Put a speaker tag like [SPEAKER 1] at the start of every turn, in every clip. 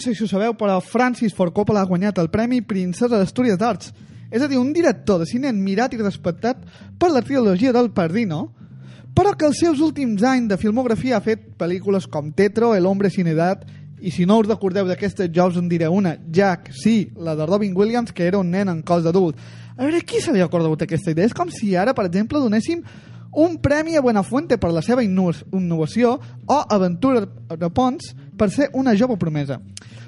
[SPEAKER 1] sé si ho sabeu, però Francis Ford Coppola ha guanyat el Premi Princesa d'Astúries d'Arts. És a dir, un director de cine admirat i respectat per la trilogia del Pardino, però que els seus últims anys de filmografia ha fet pel·lícules com Tetro, El hombre sin edat, i si no us recordeu d'aquestes, jo us en diré una, Jack, sí, la de Robin Williams, que era un nen en cos d'adult. A veure, qui se li ha acordat aquesta idea? És com si ara, per exemple, donéssim un premi a Buenafuente per la seva innov- innovació o Aventura de Pons per ser una jove promesa.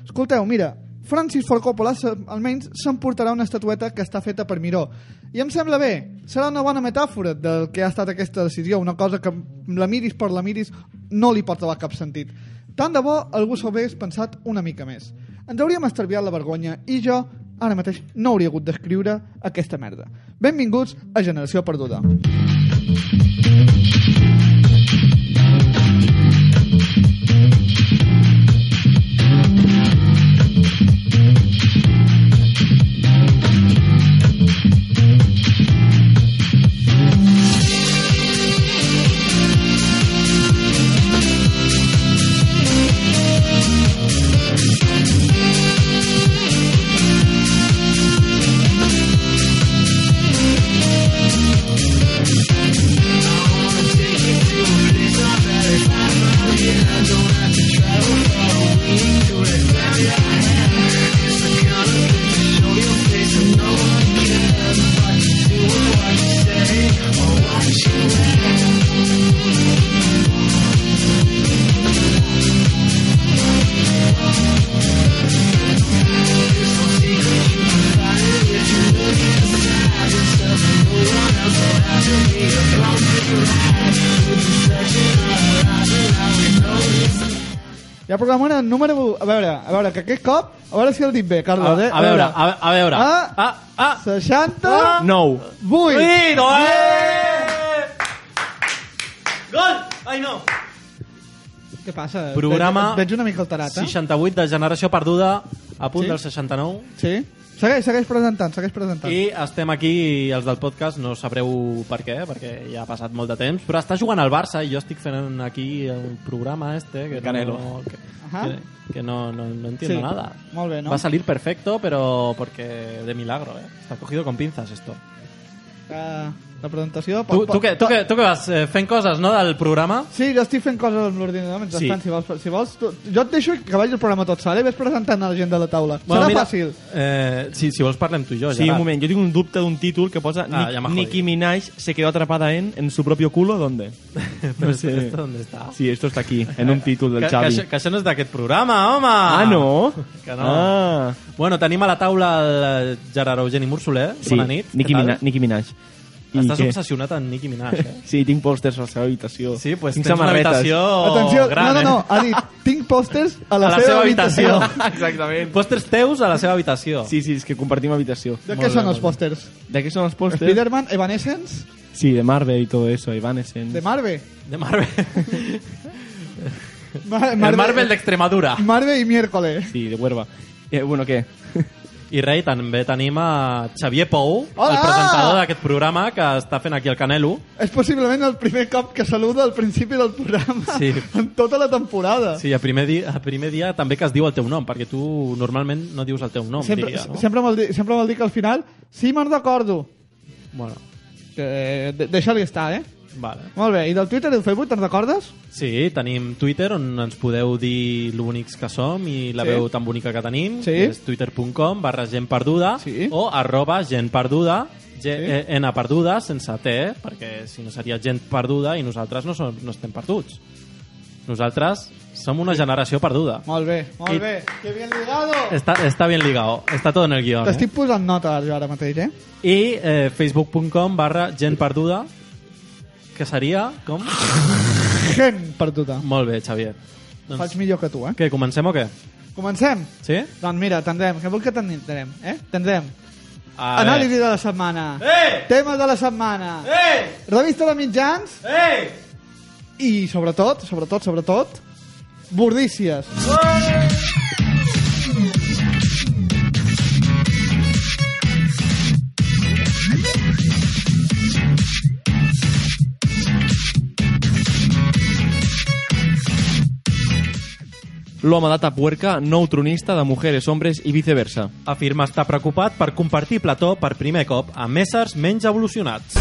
[SPEAKER 1] Escolteu, mira, Francis Ford Coppola se- almenys s'emportarà una estatueta que està feta per Miró. I em sembla bé, serà una bona metàfora del que ha estat aquesta decisió, una cosa que la miris per la miris no li portava cap sentit. Tant de bo algú s'ho hagués pensat una mica més. Ens hauríem estalviat la vergonya i jo ara mateix no hauria hagut d'escriure aquesta merda. Benvinguts a Generació Perduda. Ja programa era número 1. A veure, a veure, que aquest cop... A veure si el dic bé,
[SPEAKER 2] A,
[SPEAKER 1] Carles, eh?
[SPEAKER 2] a veure, a, a veure.
[SPEAKER 1] Ah.
[SPEAKER 2] Ah, ah,
[SPEAKER 1] 60...
[SPEAKER 2] ah. Nou.
[SPEAKER 1] 8.
[SPEAKER 2] Vuit, eh! Gol! Ai, no.
[SPEAKER 1] Què passa?
[SPEAKER 2] Programa
[SPEAKER 1] Et veig una mica alterat, eh?
[SPEAKER 2] 68 de Generació Perduda, a punt
[SPEAKER 1] Sí.
[SPEAKER 2] del 69.
[SPEAKER 1] Sí? Segueix, segueix presentant, segueix presentant.
[SPEAKER 2] I estem aquí, i els del podcast, no sabreu per què, perquè ja ha passat molt de temps, però està jugant al Barça i jo estic fent aquí un programa este que
[SPEAKER 3] Canelo.
[SPEAKER 2] no... Que,
[SPEAKER 1] Ajá.
[SPEAKER 2] que, que no, no, no entiendo
[SPEAKER 1] Sí.
[SPEAKER 2] nada.
[SPEAKER 1] Molt bé, no?
[SPEAKER 2] Va a salir perfecto, pero porque de milagro, ¿eh? Está cogido con pinzas esto.
[SPEAKER 1] Uh, la presentació...
[SPEAKER 2] Tu, tu, que, tu, que, tu que vas eh, fent coses, no?, del programa.
[SPEAKER 1] Sí, jo estic fent coses amb l'ordinador mentre
[SPEAKER 2] Sí.
[SPEAKER 1] sí. si vols. Si vols tu, jo et deixo que vagi el programa tot sol i ves presentant a la gent de la taula. Serà
[SPEAKER 2] mira,
[SPEAKER 1] fàcil.
[SPEAKER 2] Eh, si, si vols parlem tu i jo,
[SPEAKER 3] Sí, un
[SPEAKER 2] Gerard.
[SPEAKER 3] moment, yo tengo un dubte de un título que posa
[SPEAKER 2] Pues Ah,
[SPEAKER 3] Nick-
[SPEAKER 2] ya me jodí.
[SPEAKER 3] Nicki Minaj se quedó atrapada en en su propio culo, ¿dónde?
[SPEAKER 2] Però
[SPEAKER 3] Sí.
[SPEAKER 2] esto, ¿dónde está?
[SPEAKER 3] Sí, esto está aquí, en un título
[SPEAKER 2] que,
[SPEAKER 3] del
[SPEAKER 2] que,
[SPEAKER 3] Xavi.
[SPEAKER 2] això, que això no és d'aquest programa, home!
[SPEAKER 3] Ah, no?
[SPEAKER 2] Que no.
[SPEAKER 3] Ah.
[SPEAKER 2] Bueno, tenim a la taula el eh, Gerard Eugeni Mursoler.
[SPEAKER 3] Sí,
[SPEAKER 2] Bona nit.
[SPEAKER 3] Nicki,
[SPEAKER 2] Què tal?
[SPEAKER 3] Mina Nicki Minaj. I
[SPEAKER 2] Estàs
[SPEAKER 3] què?
[SPEAKER 2] obsessionat amb Nicki Minaj, eh?
[SPEAKER 3] Sí, tinc pòsters a la seva habitació.
[SPEAKER 2] Sí, pues
[SPEAKER 3] Tinc
[SPEAKER 2] tens una
[SPEAKER 3] samarretes.
[SPEAKER 2] habitació
[SPEAKER 1] Atenció,
[SPEAKER 2] Oh, gran,
[SPEAKER 1] no, no, no,
[SPEAKER 2] eh?
[SPEAKER 1] ha dit, tinc pòsters a la,
[SPEAKER 2] A la seva habitació.
[SPEAKER 3] Exactament.
[SPEAKER 2] Pòsters teus a la seva habitació.
[SPEAKER 3] Sí, sí, és que compartim habitació.
[SPEAKER 1] De
[SPEAKER 2] Molt
[SPEAKER 1] què
[SPEAKER 2] bé,
[SPEAKER 1] són
[SPEAKER 2] molt
[SPEAKER 1] els
[SPEAKER 2] bé.
[SPEAKER 1] pòsters?
[SPEAKER 3] ¿De qué son los pósters?
[SPEAKER 1] Spiderman, Evanescence,
[SPEAKER 3] Sí, de Marvel y todo eso, Evanescence.
[SPEAKER 1] de Marvel.
[SPEAKER 2] De Marvel.
[SPEAKER 1] Ma-
[SPEAKER 2] El Marvel d'Extremadura.
[SPEAKER 1] Marvel y miércoles.
[SPEAKER 3] Sí, de Huerva. Eh, bueno, ¿qué?
[SPEAKER 2] I rei, també tenim a Xavier Pou,
[SPEAKER 1] Hola!
[SPEAKER 2] el presentador d'aquest programa que està fent aquí el Canelo.
[SPEAKER 1] És possiblement el primer cop que saluda al principi del programa
[SPEAKER 2] Sí.
[SPEAKER 1] en tota la temporada.
[SPEAKER 2] Sí, a primer, dia, a primer dia també que es diu el teu nom, perquè tu normalment no dius el teu nom,
[SPEAKER 1] sempre,
[SPEAKER 2] diria, no?
[SPEAKER 1] sempre, vol dir, sempre vol dir que al final sí me'n recordo.
[SPEAKER 2] Bueno,
[SPEAKER 1] Que, de, Deixa-li estar, eh?
[SPEAKER 2] vale.
[SPEAKER 1] Molt bé, i del Twitter i del Facebook te'n recordes?
[SPEAKER 2] Sí, tenim Twitter on ens podeu dir lo bonics que som i la
[SPEAKER 1] Sí.
[SPEAKER 2] sí. veu tan bonica que tenim,
[SPEAKER 1] Sí.
[SPEAKER 2] que és twitter.com barra gent perduda
[SPEAKER 1] Sí.
[SPEAKER 2] o arroba gent perduda, G
[SPEAKER 1] Sí.
[SPEAKER 2] -E N perduda sense T, perquè si no seria gent perduda i nosaltres no, som, no estem perduts. Nosaltres som una generació perduda.
[SPEAKER 1] Molt bé, molt
[SPEAKER 2] I-
[SPEAKER 1] bé. Que bien ligado.
[SPEAKER 2] Està, està ben ligado, està tot en el guió. Eh?
[SPEAKER 1] T'estic posant nota jo ara mateix, eh?
[SPEAKER 2] I eh, facebook.com barra gent perduda, que seria com...
[SPEAKER 1] Gent perduda.
[SPEAKER 2] Molt bé, Xavier. Doncs,
[SPEAKER 1] Faig millor que tu, eh?
[SPEAKER 2] què, comencem o què?
[SPEAKER 1] Comencem?
[SPEAKER 2] Sí?
[SPEAKER 1] Doncs mira, tindrem, que vol que tindrem, eh? Tindrem
[SPEAKER 2] A
[SPEAKER 1] anàlisi de la setmana,
[SPEAKER 2] Eh!
[SPEAKER 1] temes de la setmana,
[SPEAKER 2] Eh!
[SPEAKER 1] revista de mitjans
[SPEAKER 2] Eh!
[SPEAKER 1] i, sobretot, sobretot, sobretot, bordícies.
[SPEAKER 3] l'home de Tapuerca, nou tronista de Mujeres, Hombres i viceversa.
[SPEAKER 2] Afirma estar preocupat per compartir plató per primer cop amb éssers menys evolucionats.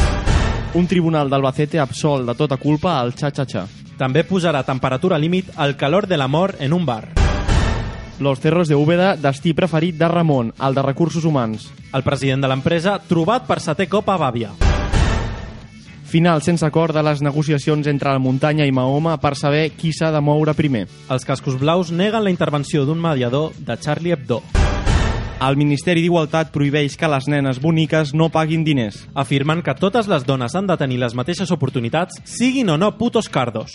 [SPEAKER 3] Un tribunal d'Albacete absol de tota culpa al xa-xa-xa.
[SPEAKER 2] També posarà a temperatura límit el calor de l'amor en un bar.
[SPEAKER 3] Los Cerros de Úbeda, destí preferit de Ramon, el de recursos humans.
[SPEAKER 2] El president de l'empresa trobat per setè cop a Bàbia.
[SPEAKER 3] Final sense acord de les negociacions entre la muntanya i Mahoma per saber qui s'ha de moure primer.
[SPEAKER 2] Els cascos blaus neguen la intervenció d'un mediador de Charlie Hebdo.
[SPEAKER 3] El Ministeri d'Igualtat prohibeix que les nenes boniques no paguin diners.
[SPEAKER 2] Afirmen que totes les dones han de tenir les mateixes oportunitats, siguin o no putos cardos.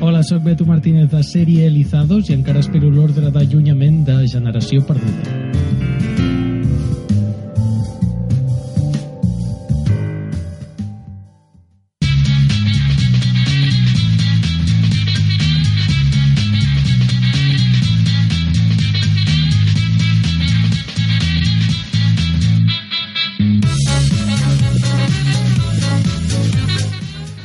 [SPEAKER 4] Hola, sóc Beto Martínez de sèrie Elizados i encara espero l'ordre d'allunyament de Generació Perduda.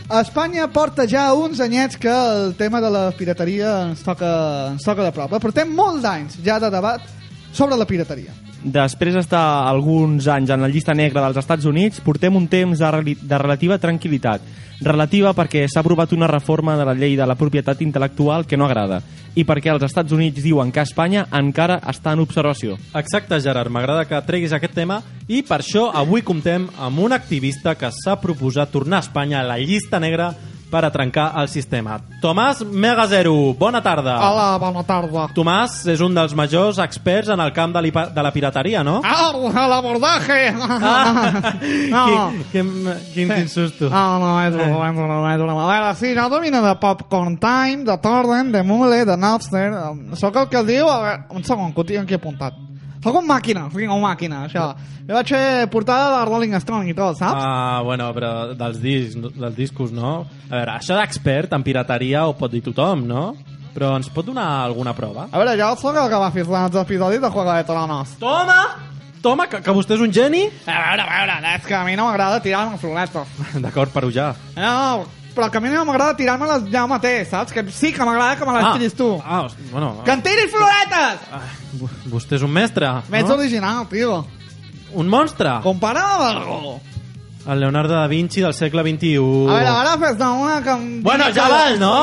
[SPEAKER 1] A Espanya porta ja uns anyets que el tema de la pirateria ens toca, ens toca de prop. eh? Portem molts anys ja de debat sobre la pirateria.
[SPEAKER 3] Després d'estar alguns anys en la llista negra dels Estats Units, portem un temps de, reli- de relativa tranquil·litat. Relativa perquè s'ha aprovat una reforma de la llei de la propietat intel·lectual que no agrada i perquè els Estats Units diuen que Espanya encara està en observació.
[SPEAKER 2] Exacte, Gerard, m'agrada que treguis aquest tema i per això avui comptem amb un activista que s'ha proposat tornar a Espanya a la llista negra per a trencar el sistema. Tomàs Mega Zero, bona tarda.
[SPEAKER 1] Hola, bona tarda.
[SPEAKER 2] Tomàs és un dels majors experts en el camp de, lipa- de la pirateria, no?
[SPEAKER 1] Ah, l'abordatge! Ah.
[SPEAKER 2] no. Quin, quin, quin susto.
[SPEAKER 1] No, no, és broma, és broma, és broma. A veure, sí, jo domino de Popcorn Time, de Torrent, de Mule, de Napster. em, Sóc el que diu... A veure, un segon, que ho tinc aquí apuntat. Sóc un màquina, sí, un màquina, això. Jo vaig fer portada de Rolling Stone i tot, saps?
[SPEAKER 2] Ah, bueno, però dels, discs, dels discos, no? A veure, això d'expert en pirateria ho pot dir tothom, no? Però ens pot donar alguna prova?
[SPEAKER 1] A veure, jo sóc el que va fer els episodis de Juego de Tronos.
[SPEAKER 2] Toma! Toma, que, que vostè és un geni?
[SPEAKER 1] A veure, a veure, és que a mi no m'agrada tirar-me floretes.
[SPEAKER 2] D'acord, per ja.
[SPEAKER 1] No, no, però que a mi no m'agrada tirar-me-les ja mateix, saps? Que sí que m'agrada que me les tiris tu.
[SPEAKER 2] Ah, hosti, bueno.
[SPEAKER 1] Que em tiris floretes!
[SPEAKER 2] Ah, vo- vostè és un mestre,
[SPEAKER 1] Més
[SPEAKER 2] no?
[SPEAKER 1] original, tio.
[SPEAKER 2] Un monstre!
[SPEAKER 1] Compara'm amb algú.
[SPEAKER 2] El Leonardo da Vinci del segle XXI.
[SPEAKER 1] A veure, ara fes una que... Ah, em-
[SPEAKER 2] Uh. Bueno, ja val, no?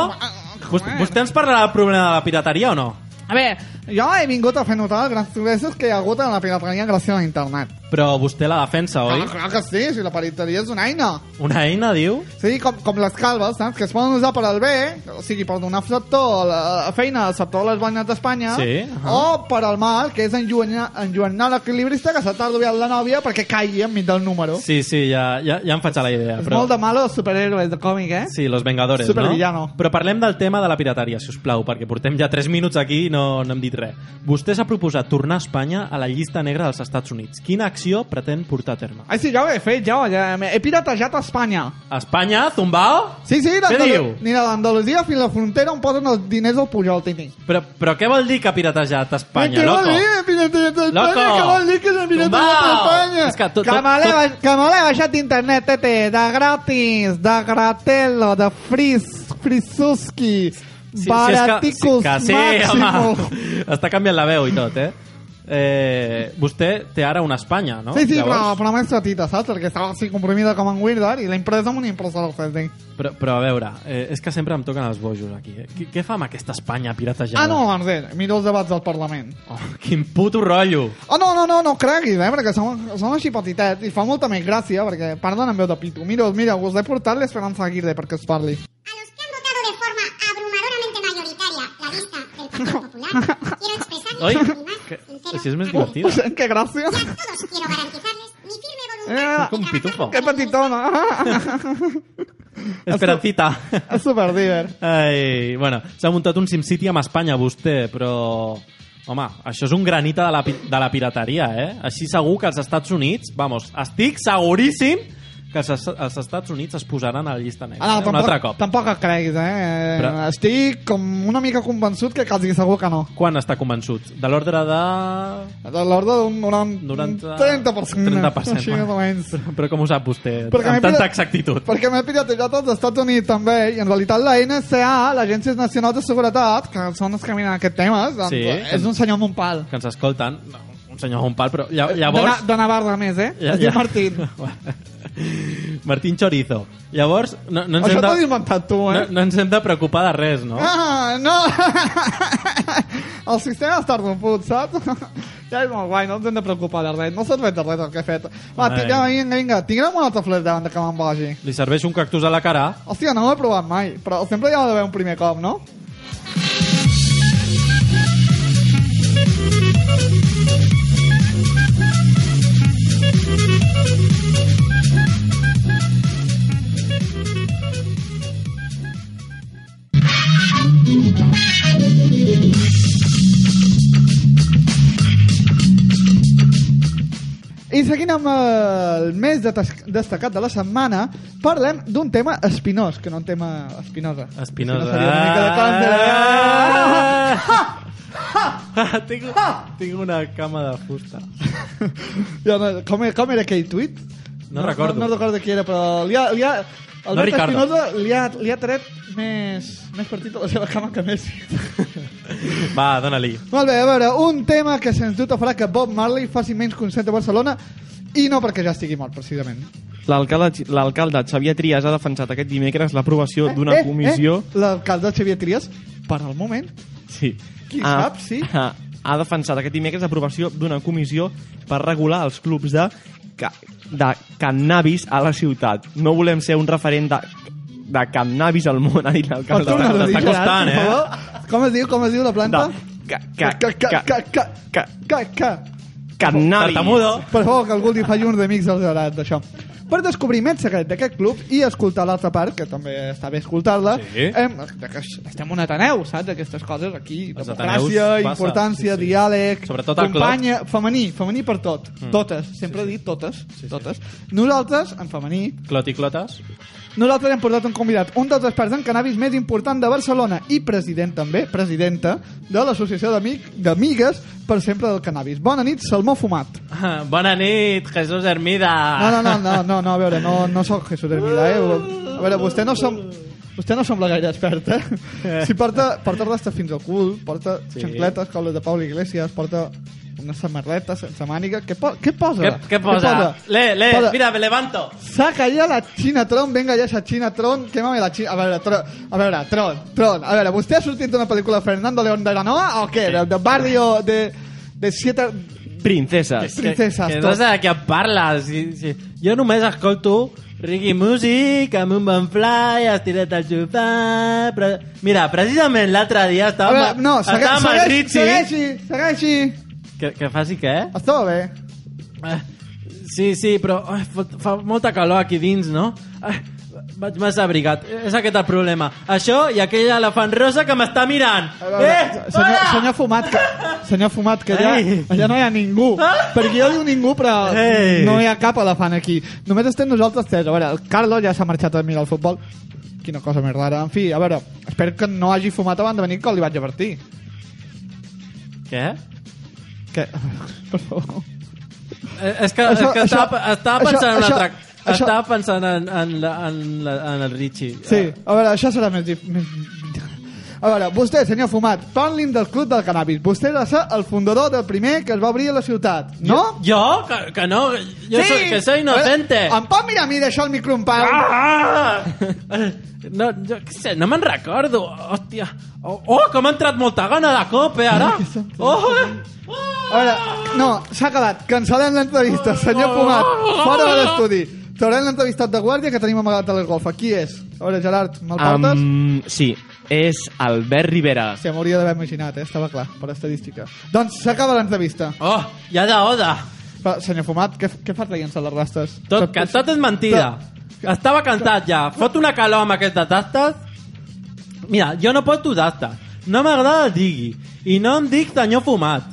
[SPEAKER 2] Vostè,
[SPEAKER 1] Joder.
[SPEAKER 2] vostè ens parlarà del problema de la pirateria o no?
[SPEAKER 1] A veure, jo he vingut a fer notar els grans progressos que hi ha hagut en la pirateria gràcies a internet.
[SPEAKER 2] Però vostè la defensa,
[SPEAKER 1] Ah,
[SPEAKER 2] oi?
[SPEAKER 1] clar que sí, si la pirateria és una eina.
[SPEAKER 2] Una eina, diu?
[SPEAKER 1] Sí, com, com les calves, saps? Que es poden usar per al bé, o sigui, per donar sector a la feina al sector de les bandes d'Espanya,
[SPEAKER 2] Sí, ah.
[SPEAKER 1] o per al mal, que és enlluenar, enlluenar l'equilibrista que s'ha tardat la nòvia perquè caigui enmig del número.
[SPEAKER 2] Sí, sí, ja, ja, ja em faig a la idea.
[SPEAKER 1] és
[SPEAKER 2] Però...
[SPEAKER 1] molt de malo els superhéroes de còmic, eh?
[SPEAKER 2] Sí, Los Vengadores,
[SPEAKER 1] Supervillano.
[SPEAKER 2] no? Però parlem del tema de la pirateria, si us plau, perquè portem ja 3 minuts aquí i no, no hem dit res. Vostè s'ha proposat tornar a Espanya a la llista negra dels Estats Units. Quina acció pretén portar a terme?
[SPEAKER 1] Ai, sí, ja ho he fet, jo. Ja, he piratejat a Espanya.
[SPEAKER 2] Espanya, Zumbao?
[SPEAKER 1] Sí, sí,
[SPEAKER 2] Què
[SPEAKER 1] d'Andalu-
[SPEAKER 2] diu?
[SPEAKER 1] ni de l'Andalusia fins a la frontera on posen els diners del Pujol, Tini.
[SPEAKER 2] Però, però què vol dir que ha piratejat Espanya,
[SPEAKER 1] Què vol
[SPEAKER 2] loco?
[SPEAKER 1] dir, pirateria d'Espanya?
[SPEAKER 2] Loco!
[SPEAKER 1] Què vol dir que és un pirateria
[SPEAKER 2] Tombau!
[SPEAKER 1] d'Espanya?
[SPEAKER 2] És que tot-
[SPEAKER 1] Que
[SPEAKER 2] tot-
[SPEAKER 1] me l'he
[SPEAKER 2] tot-
[SPEAKER 1] baix- que me l'he baixat d'internet, tete, de este, gratis, de gratelo, de fris, frisuski,
[SPEAKER 2] Sí,
[SPEAKER 1] baraticus
[SPEAKER 2] sí, és que, sí, que sí,
[SPEAKER 1] máximo.
[SPEAKER 2] home. Està canviant la veu i tot, eh? eh vostè té ara una Espanya, no?
[SPEAKER 1] Sí, sí, però,
[SPEAKER 2] Llavors,
[SPEAKER 1] però més petita, saps? Perquè estava així comprimida com en Weirdar i l'he impresa amb una impressora 3D.
[SPEAKER 2] però, però a veure, eh, és que sempre em toquen els bojos aquí. Eh? Què, què fa amb aquesta Espanya piratejada?
[SPEAKER 1] Ah, no, Marcel, miro els debats del Parlament.
[SPEAKER 2] Oh, quin puto rotllo!
[SPEAKER 1] Oh, no, no, no, no creguis, eh? Perquè som, som així petitets i fa molta més gràcia, perquè parlen amb veu de pitu. Mira, mira, us he portat l'Esperanza Aguirre perquè us parli.
[SPEAKER 5] A los que han votado de forma abrumadoramente mayoritaria la lista del Partido Popular, quiero expresarles
[SPEAKER 2] Oi?
[SPEAKER 5] mi más
[SPEAKER 2] Que,
[SPEAKER 5] sincero
[SPEAKER 2] si és més
[SPEAKER 5] apoyo.
[SPEAKER 2] divertida.
[SPEAKER 1] Us sent que gràcia?
[SPEAKER 5] Y a todos quiero garantizarles mi firme
[SPEAKER 1] Eh,
[SPEAKER 5] voluntad de
[SPEAKER 2] com pitufo.
[SPEAKER 5] trabajar
[SPEAKER 1] Que petitona.
[SPEAKER 2] Esperancita.
[SPEAKER 1] És superdiver.
[SPEAKER 2] Ai, bueno, s'ha muntat un SimCity amb Espanya, vostè, però... Home, això és un granita de la, pi- de la pirateria, eh? Així segur que als Estats Units, vamos, estic seguríssim que els, es- els Estats Units es posaran a la llista negra.
[SPEAKER 1] Ah,
[SPEAKER 2] eh? Un
[SPEAKER 1] tampoc,
[SPEAKER 2] altre cop.
[SPEAKER 1] Tampoc et creguis, eh?
[SPEAKER 2] Però-
[SPEAKER 1] Estic com una mica convençut que quasi segur que no.
[SPEAKER 2] Quan està convençut? De l'ordre de...
[SPEAKER 1] De l'ordre d'un 90...
[SPEAKER 2] 90...
[SPEAKER 1] 30%.
[SPEAKER 2] 30%.
[SPEAKER 1] Així, més o menys.
[SPEAKER 2] Però, però com ho sap vostè?
[SPEAKER 1] Perquè m'he
[SPEAKER 2] amb tanta
[SPEAKER 1] pillat-
[SPEAKER 2] exactitud.
[SPEAKER 1] Perquè m'he piratejat als Estats Units també, i en realitat la NSA, l'Agència Nacional de Seguretat, que són els que miren aquest tema, doncs,
[SPEAKER 2] Sí.
[SPEAKER 1] és un senyor amb un pal.
[SPEAKER 2] Que ens escolten. No, un senyor amb un pal, però lla-
[SPEAKER 1] De,
[SPEAKER 2] llavors...
[SPEAKER 1] Na- de Navarra, a més, eh? Ja, ja. Martín.
[SPEAKER 2] Martín Chorizo. Llavors, no, no ens
[SPEAKER 1] Això
[SPEAKER 2] hem
[SPEAKER 1] t'ho has
[SPEAKER 2] de...
[SPEAKER 1] inventat tu, eh?
[SPEAKER 2] No, no ens hem de preocupar de res, no?
[SPEAKER 1] Ah, no! el sistema està romput, saps? ja és molt guai, no ens hem de preocupar de res. No serveix de res el que he fet. Va,
[SPEAKER 2] Ai.
[SPEAKER 1] tira, vinga, vinga, tinguem un altre flash davant de que me'n vagi.
[SPEAKER 2] Li serveix un cactus a la cara.
[SPEAKER 1] Hòstia, no ho he provat mai, però sempre hi ha d'haver un primer cop, no? I seguint amb el més detes- destacat de la setmana, parlem d'un tema espinós, que no un tema espinosa.
[SPEAKER 2] Espinosa.
[SPEAKER 1] Si no seria una mica de eh? càncer.
[SPEAKER 2] Ah, tinc, tinc una cama de fusta.
[SPEAKER 1] Jo no, com, era- com era aquell tuit?
[SPEAKER 2] No recordo.
[SPEAKER 1] No, no recordo qui era, però li ha, li ha, el
[SPEAKER 2] No,
[SPEAKER 1] Beto
[SPEAKER 2] Ricardo.
[SPEAKER 1] Espinosa li ha, li ha tret més, més partit a la seva cama que Messi.
[SPEAKER 2] Va, dóna-li.
[SPEAKER 1] Molt bé, a veure, un tema que sens dubte farà que Bob Marley faci menys concert a Barcelona i no perquè ja estigui mort, precisament.
[SPEAKER 3] L'alcalde l'alcalde Xavier Trias ha defensat aquest dimecres l'aprovació d'una comissió...
[SPEAKER 1] Eh, L'alcalde Xavier Trias, per al moment,
[SPEAKER 3] Sí.
[SPEAKER 1] Qui
[SPEAKER 3] Ah.
[SPEAKER 1] sap, sí.
[SPEAKER 3] Ha, ha defensat aquest dimecres l'aprovació d'una comissió per regular els clubs de, ca, de cannabis a la ciutat. No volem ser un referent de, de cannabis al món, ha dit
[SPEAKER 1] Pots
[SPEAKER 3] l'alcalde.
[SPEAKER 1] tornar-ho a dir,
[SPEAKER 2] t'està
[SPEAKER 1] Gerard,
[SPEAKER 2] costant,
[SPEAKER 1] per
[SPEAKER 2] eh?
[SPEAKER 1] favor? Com es diu, com es diu la planta?
[SPEAKER 3] ca,
[SPEAKER 1] Ca, ca, ca, ca, ca,
[SPEAKER 3] ca,
[SPEAKER 1] ca, ca.
[SPEAKER 3] cannabis.
[SPEAKER 2] Tartamudo.
[SPEAKER 1] Per favor, que algú li faci uns amics al Gerard d'això. Per descobrir més secret d'aquest club i escoltar l'altra part, que també està bé escoltar-la,
[SPEAKER 2] Sí.
[SPEAKER 1] hem, de que estem un Ateneu, saps? Aquestes coses aquí,
[SPEAKER 2] Els
[SPEAKER 1] democràcia,
[SPEAKER 2] Ateneus passa,
[SPEAKER 1] importància,
[SPEAKER 2] sí, sí.
[SPEAKER 1] diàleg,
[SPEAKER 2] Sobretot al club. Mm.
[SPEAKER 1] companya, femení, femení per tot, totes, sempre he dit totes, totes. Nosaltres, en femení,
[SPEAKER 2] Clot i clotes.
[SPEAKER 1] nosaltres hem portat un convidat, un dels experts en cannabis més important de Barcelona i president també, presidenta, de l'Associació d'Amic- d'Amigues per sempre del cannabis. Bona nit, Salmó Fumat.
[SPEAKER 2] Ah, Bona nit, Jesús Hermida.
[SPEAKER 1] No, no, no, no, no, no a veure, no, no sóc Jesús Hermida, eh? A veure, vostè no som... Vostè no sembla gaire expert, eh? Si porta, porta rasta fins al cul, porta sí. xancletes, caules de Pablo Iglesias, porta una samarreta sense màniga... Què, po què posa?
[SPEAKER 2] Què, què posa? Le, le,
[SPEAKER 1] Posa-
[SPEAKER 2] mira, me levanto.
[SPEAKER 1] Saca ya la China Tron, venga ya esa China Tron, quémame la China. A veure, Tron, a veure, Tron, Tron. A veure, ¿usted ha sortit d'una pel·lícula de Fernando León de la Noa o què? De, de barrio de, de siete
[SPEAKER 3] Princeses.
[SPEAKER 1] princesas.
[SPEAKER 2] Que, que no
[SPEAKER 1] tot.
[SPEAKER 2] sé de què em parles. Si, si. Jo només escolto Ricky Music, amb un bon fly, estiret al sofà... Pre... Mira, precisament l'altre dia
[SPEAKER 1] A
[SPEAKER 2] estàvem,
[SPEAKER 1] veure, no, segue,
[SPEAKER 2] estàvem al
[SPEAKER 1] segueixi,
[SPEAKER 2] Ritzy...
[SPEAKER 1] segueixi, segueixi.
[SPEAKER 2] Que, que faci què?
[SPEAKER 1] Està bé.
[SPEAKER 2] Ah, Sí, sí, però ai, fa, fa molta calor aquí dins, no? Ai, vaig massa abrigat. És aquest el problema. Això i aquell elefant rosa que m'està mirant.
[SPEAKER 1] A veure,
[SPEAKER 2] eh,
[SPEAKER 1] senyor,
[SPEAKER 2] hola!
[SPEAKER 1] senyor Fumat, que, senyor Fumat, que allà,
[SPEAKER 2] Ei.
[SPEAKER 1] allà no hi ha ningú.
[SPEAKER 2] Ah.
[SPEAKER 1] Perquè jo diu ningú, però
[SPEAKER 2] Ei.
[SPEAKER 1] no hi ha cap elefant aquí. Només estem nosaltres tres. A veure, el Carlos ja s'ha marxat a mirar el futbol. Quina cosa més rara. En fi, a veure, espero que no hagi fumat abans de venir, que li vaig advertir.
[SPEAKER 2] Què?
[SPEAKER 1] Que... Per favor.
[SPEAKER 2] Eh, És que,
[SPEAKER 1] Això-
[SPEAKER 2] és que
[SPEAKER 1] això-
[SPEAKER 2] estava, estava
[SPEAKER 1] això-
[SPEAKER 2] pensant en
[SPEAKER 1] això-
[SPEAKER 2] això,
[SPEAKER 1] això-
[SPEAKER 2] estava pensant en, en, la, en, la, en el Richie. Eh,
[SPEAKER 1] Sí, a veure, això serà més... dif- més... A veure, vostè, senyor Fumat, parli'm del Club del Cannabis. Vostè va ser el fundador del primer que es va obrir a la ciutat, no?
[SPEAKER 2] Jo? Que, que no, jo
[SPEAKER 1] Sí.
[SPEAKER 2] soy, que soy inocente.
[SPEAKER 1] A veure, Em pot mirar a mi d'això el micro en pau?
[SPEAKER 2] Ah! No, jo què sé, no me'n recordo. Hòstia. Oh, oh, com ha entrat molta gana de cop, eh, ara?
[SPEAKER 1] Ai, que sant.
[SPEAKER 2] Oh, eh?
[SPEAKER 1] A veure, no, s'ha acabat. Cancel·lem l'entrevista,
[SPEAKER 2] Ah!
[SPEAKER 1] senyor Fumat. Fora de l'estudi. Traurem l'entrevistat de guàrdia que tenim amagat a les golfes. Qui és? A veure, Gerard, me'l portes? Um...
[SPEAKER 3] Um, sí, és Albert Rivera.
[SPEAKER 1] Sí, m'hauria d'haver imaginat, eh? estava clar, per estadística. Doncs s'acaba l'entrevista.
[SPEAKER 2] Oh, ja de oda.
[SPEAKER 1] Però, Senyor Fumat, què, què fa traient-se les rastes?
[SPEAKER 2] Tot, que tot és mentida. Estava cantat ja. Fot una calor amb aquestes tastes. Mira, jo no porto tastes. No m'agrada el digui. I no em dic senyor fumat.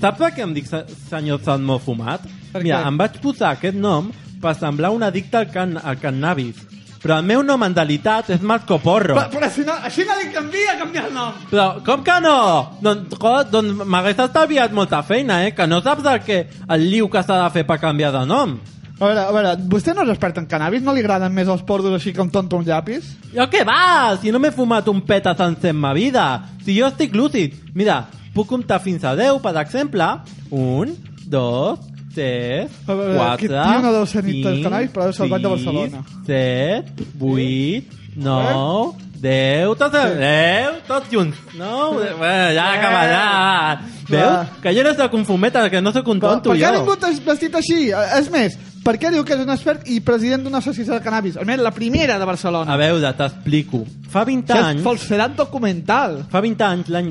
[SPEAKER 2] Saps per què em dic se- senyor Salmó fumat?
[SPEAKER 1] Per
[SPEAKER 2] Mira,
[SPEAKER 1] què?
[SPEAKER 2] em vaig posar aquest nom per semblar un addicte al, can al cannabis. Però el meu nom en realitat és Marco Porro.
[SPEAKER 1] Però, però si no, així no li canvia canviar el nom.
[SPEAKER 2] Però, com que no? Doncs, jo- doncs m'hagués estalviat molta feina, eh? Que no saps el, que, el liu que s'ha de fer per canviar de nom.
[SPEAKER 1] A veure, a veure, vostè no és expert en cannabis? No li agraden més els porros així com tonto un llapis?
[SPEAKER 2] Jo què va? Si no m'he fumat un peta sencer en ma vida. Si jo estic lúcid. Mira, puc comptar fins a 10, per exemple. Un, dos, tres,
[SPEAKER 1] A veure,
[SPEAKER 2] quatre,
[SPEAKER 1] aquest tio no deu ser ni del Canari, però deu ser el Banc de
[SPEAKER 2] sis,
[SPEAKER 1] Barcelona.
[SPEAKER 2] set, vuit, nou, deu, tots, sí. deu, tots junts. No, de- bueno, ja ha acabat, ja.
[SPEAKER 1] Va.
[SPEAKER 2] Veus? Que jo no soc un fumeta, que no sóc un
[SPEAKER 1] Però,
[SPEAKER 2] tonto,
[SPEAKER 1] per què ha
[SPEAKER 2] jo.
[SPEAKER 1] vingut es- vestit així? Eh, És més, per què diu que és un expert i president d'una associació de cannabis? Almenys la primera de Barcelona.
[SPEAKER 2] A veure, t'explico. Fa 20
[SPEAKER 1] Això és
[SPEAKER 2] anys...
[SPEAKER 1] falsedat documental.
[SPEAKER 2] Fa 20 anys, l'any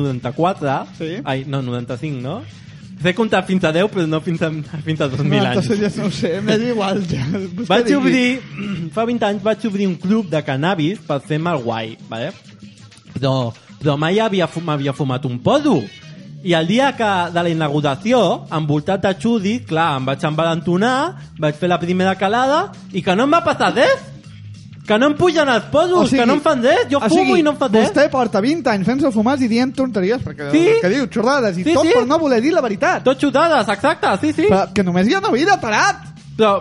[SPEAKER 2] 1994,
[SPEAKER 1] Sí.
[SPEAKER 2] ai, no, 95, no? Sé comptar fins a 10, però no fins a, fins a 2000
[SPEAKER 1] no,
[SPEAKER 2] anys.
[SPEAKER 1] Ja no ho sé, m'és igual. Ja. Vostè
[SPEAKER 2] Vaig
[SPEAKER 1] digui.
[SPEAKER 2] obrir, fa 20 anys vaig obrir un club de cannabis per fer mal guai, vale? però, però mai havia fu- m'havia fumat un podo. I el dia que, de la inauguració, envoltat de xudi, clar, em vaig envalentonar, vaig fer la primera calada i que no em va passar res. Que no em pugen els posos,
[SPEAKER 1] O sigui-
[SPEAKER 2] que no em fan res. Jo
[SPEAKER 1] o
[SPEAKER 2] fumo
[SPEAKER 1] sigui,
[SPEAKER 2] i no em fa res.
[SPEAKER 1] Vostè porta 20 anys fent-se fumats i dient tonteries, perquè
[SPEAKER 2] Sí.
[SPEAKER 1] el que diu xorrades i
[SPEAKER 2] Sí,
[SPEAKER 1] tot
[SPEAKER 2] sí.
[SPEAKER 1] per no voler dir la veritat.
[SPEAKER 2] Tot xutades, exacte, sí, sí.
[SPEAKER 1] Però que només hi ha una vida, parat!
[SPEAKER 2] Però,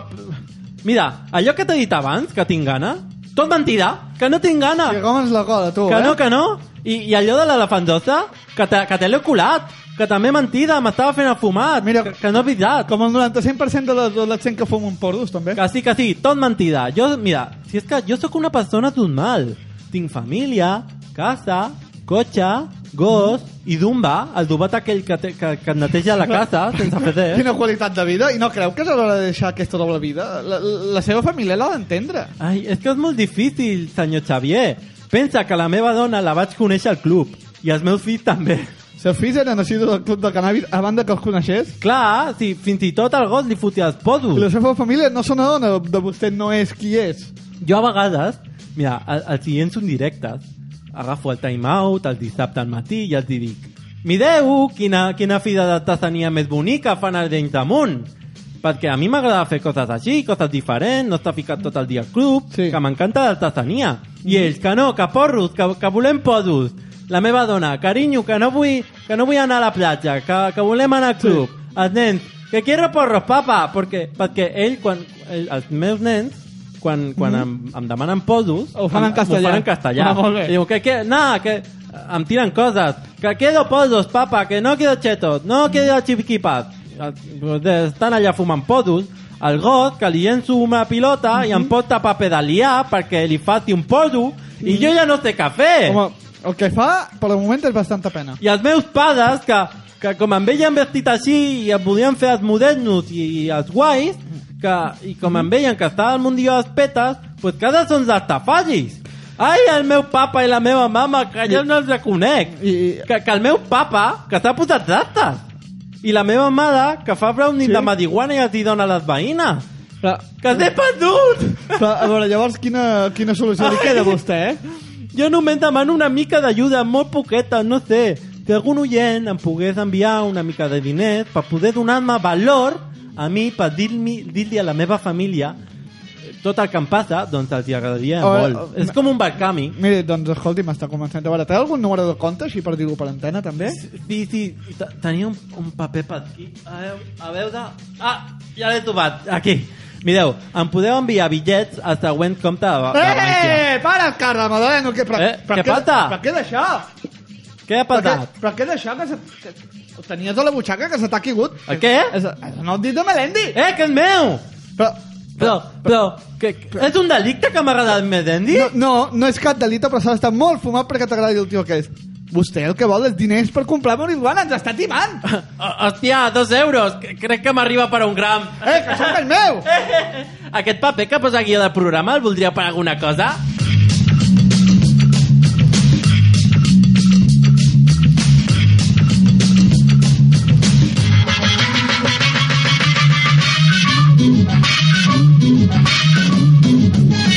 [SPEAKER 2] mira, allò que t'he dit abans, que tinc gana, tot mentida, que no tinc gana.
[SPEAKER 1] Que com ens la cola, tu,
[SPEAKER 2] Ah. Que
[SPEAKER 1] eh?
[SPEAKER 2] no, que no. I, i allò de l'elefantosa, que te, que te l'he colat, que també mentida, m'estava fent el fumat,
[SPEAKER 1] Mira,
[SPEAKER 2] que, que no és veritat.
[SPEAKER 1] Com el 95% de l'adolescent que fuma un porros, també.
[SPEAKER 2] Que sí, que sí, tot mentida. Jo, mira, si és que jo sóc una persona normal. Tinc família, casa, cotxe, gos i Dumba, el dubat aquell que, te, que, que et neteja la casa sense fer res.
[SPEAKER 1] Quina qualitat de vida. I no creu que és a l'hora de deixar aquesta doble vida? La, la seva família l'ha d'entendre.
[SPEAKER 2] Ai, és que és molt difícil, senyor Xavier. Pensa que la meva dona la vaig conèixer al club i els meus fills també.
[SPEAKER 1] Els seus fills eren així del club de cannabis a banda que els coneixés.
[SPEAKER 2] Clar, si fins i tot el gos li fotia els
[SPEAKER 1] I la
[SPEAKER 2] posos.
[SPEAKER 1] seva família no se n'adona de vostè no és qui és.
[SPEAKER 2] Jo a vegades, mira, al- als clients un directes, agafo el time out el dissabte al matí i els hi dic Mireu quina, quina fida de tasania més bonica fan els d'enys damunt. Perquè a mi m'agrada fer coses així, coses diferents, no estar ficat tot el dia al club,
[SPEAKER 1] Sí.
[SPEAKER 2] sí. que m'encanta la tasania. I ells, que no, que porros, que, que volem posos. La meva dona, carinyo, que no vull, que no vull anar a la platja, que, que volem anar al club. Sí. Els nens, que quiero porros, papa, perquè, perquè ell, quan, ell, els meus nens, quan, quan em, em demanen posos,
[SPEAKER 1] Mm-hmm. Ho fan en
[SPEAKER 2] em-
[SPEAKER 1] castellà.
[SPEAKER 2] Ho fan en castellà.
[SPEAKER 1] Ah, molt bé.
[SPEAKER 2] I diu, que, que, no, que em tiren coses. Que quedo posos, papa, que no quedo chetos, no quedo chiquipas. Eh, Estan allà fumant posos. El got, que li llenço una pilota i
[SPEAKER 1] Mm-hmm.
[SPEAKER 2] em porta paper de liar perquè li falti un poso i jo ja no sé què fer.
[SPEAKER 1] Mm-hmm. Home, el que fa, per el moment, és bastanta pena.
[SPEAKER 2] I els meus pares, que, que com em veien vestit així i em volien fer els modernos i, i els guais, que, i com em veien que estava al mundió a les petes, pues cada són els tafagis. Ai, el meu papa i la meva mama, que jo no els reconec.
[SPEAKER 1] I-
[SPEAKER 2] Que, que el meu papa, que s'ha posat rastes. I la meva mare, que fa brownie
[SPEAKER 1] Sí.
[SPEAKER 2] de marihuana i els hi dona a les veïnes.
[SPEAKER 1] Però,
[SPEAKER 2] Que t'he perdut!
[SPEAKER 1] però, a veure, llavors, quina, quina solució
[SPEAKER 2] Ah.
[SPEAKER 1] li queda a vostè, eh?
[SPEAKER 2] Jo només demano una mica d'ajuda, molt poqueta, no sé. Si algun oient em pogués enviar una mica de diners per poder donar-me valor a mi, per dir-li dir a la meva família eh, tot el que em passa, doncs els hi agradaria
[SPEAKER 1] A veure,
[SPEAKER 2] molt.
[SPEAKER 1] eh,
[SPEAKER 2] És com un barcami.
[SPEAKER 1] Mire, doncs, escolti, m'està començant. A veure, té algun número de compte, així per dir-ho per antena, també?
[SPEAKER 2] Sí, sí, te- tenia un, un paper per aquí. A veure, a veure... Ah, ja l'he trobat, aquí. Mireu, em podeu enviar bitllets al següent compte de, de Bankia.
[SPEAKER 1] Eh, para, Carla Madaleno, que... Però,
[SPEAKER 2] Ah, Eh,
[SPEAKER 1] però
[SPEAKER 2] què falta?
[SPEAKER 1] Però què d'això?
[SPEAKER 2] Què ha
[SPEAKER 1] Però què,
[SPEAKER 2] passat?
[SPEAKER 1] però què d'això que, se, que ho tenies a la butxaca que se t'ha caigut?
[SPEAKER 2] El què?
[SPEAKER 1] És, és el nou dit de Melendi!
[SPEAKER 2] Eh, que és meu!
[SPEAKER 1] Però,
[SPEAKER 2] Però, però, que, que- és un delicte que m'ha agradat més, Andy?
[SPEAKER 1] no, no, no és cap delit, però s'ha d'estar molt fumat perquè t'agradi el tio que és. Vostè el que vol és diners per comprar marihuana, ens està timant!
[SPEAKER 2] Hò- Ah, Hòstia, dos euros, que- crec que m'arriba per un gram.
[SPEAKER 1] eh, que això és meu!
[SPEAKER 2] Aquest paper que posa guia del programa el voldria per alguna cosa?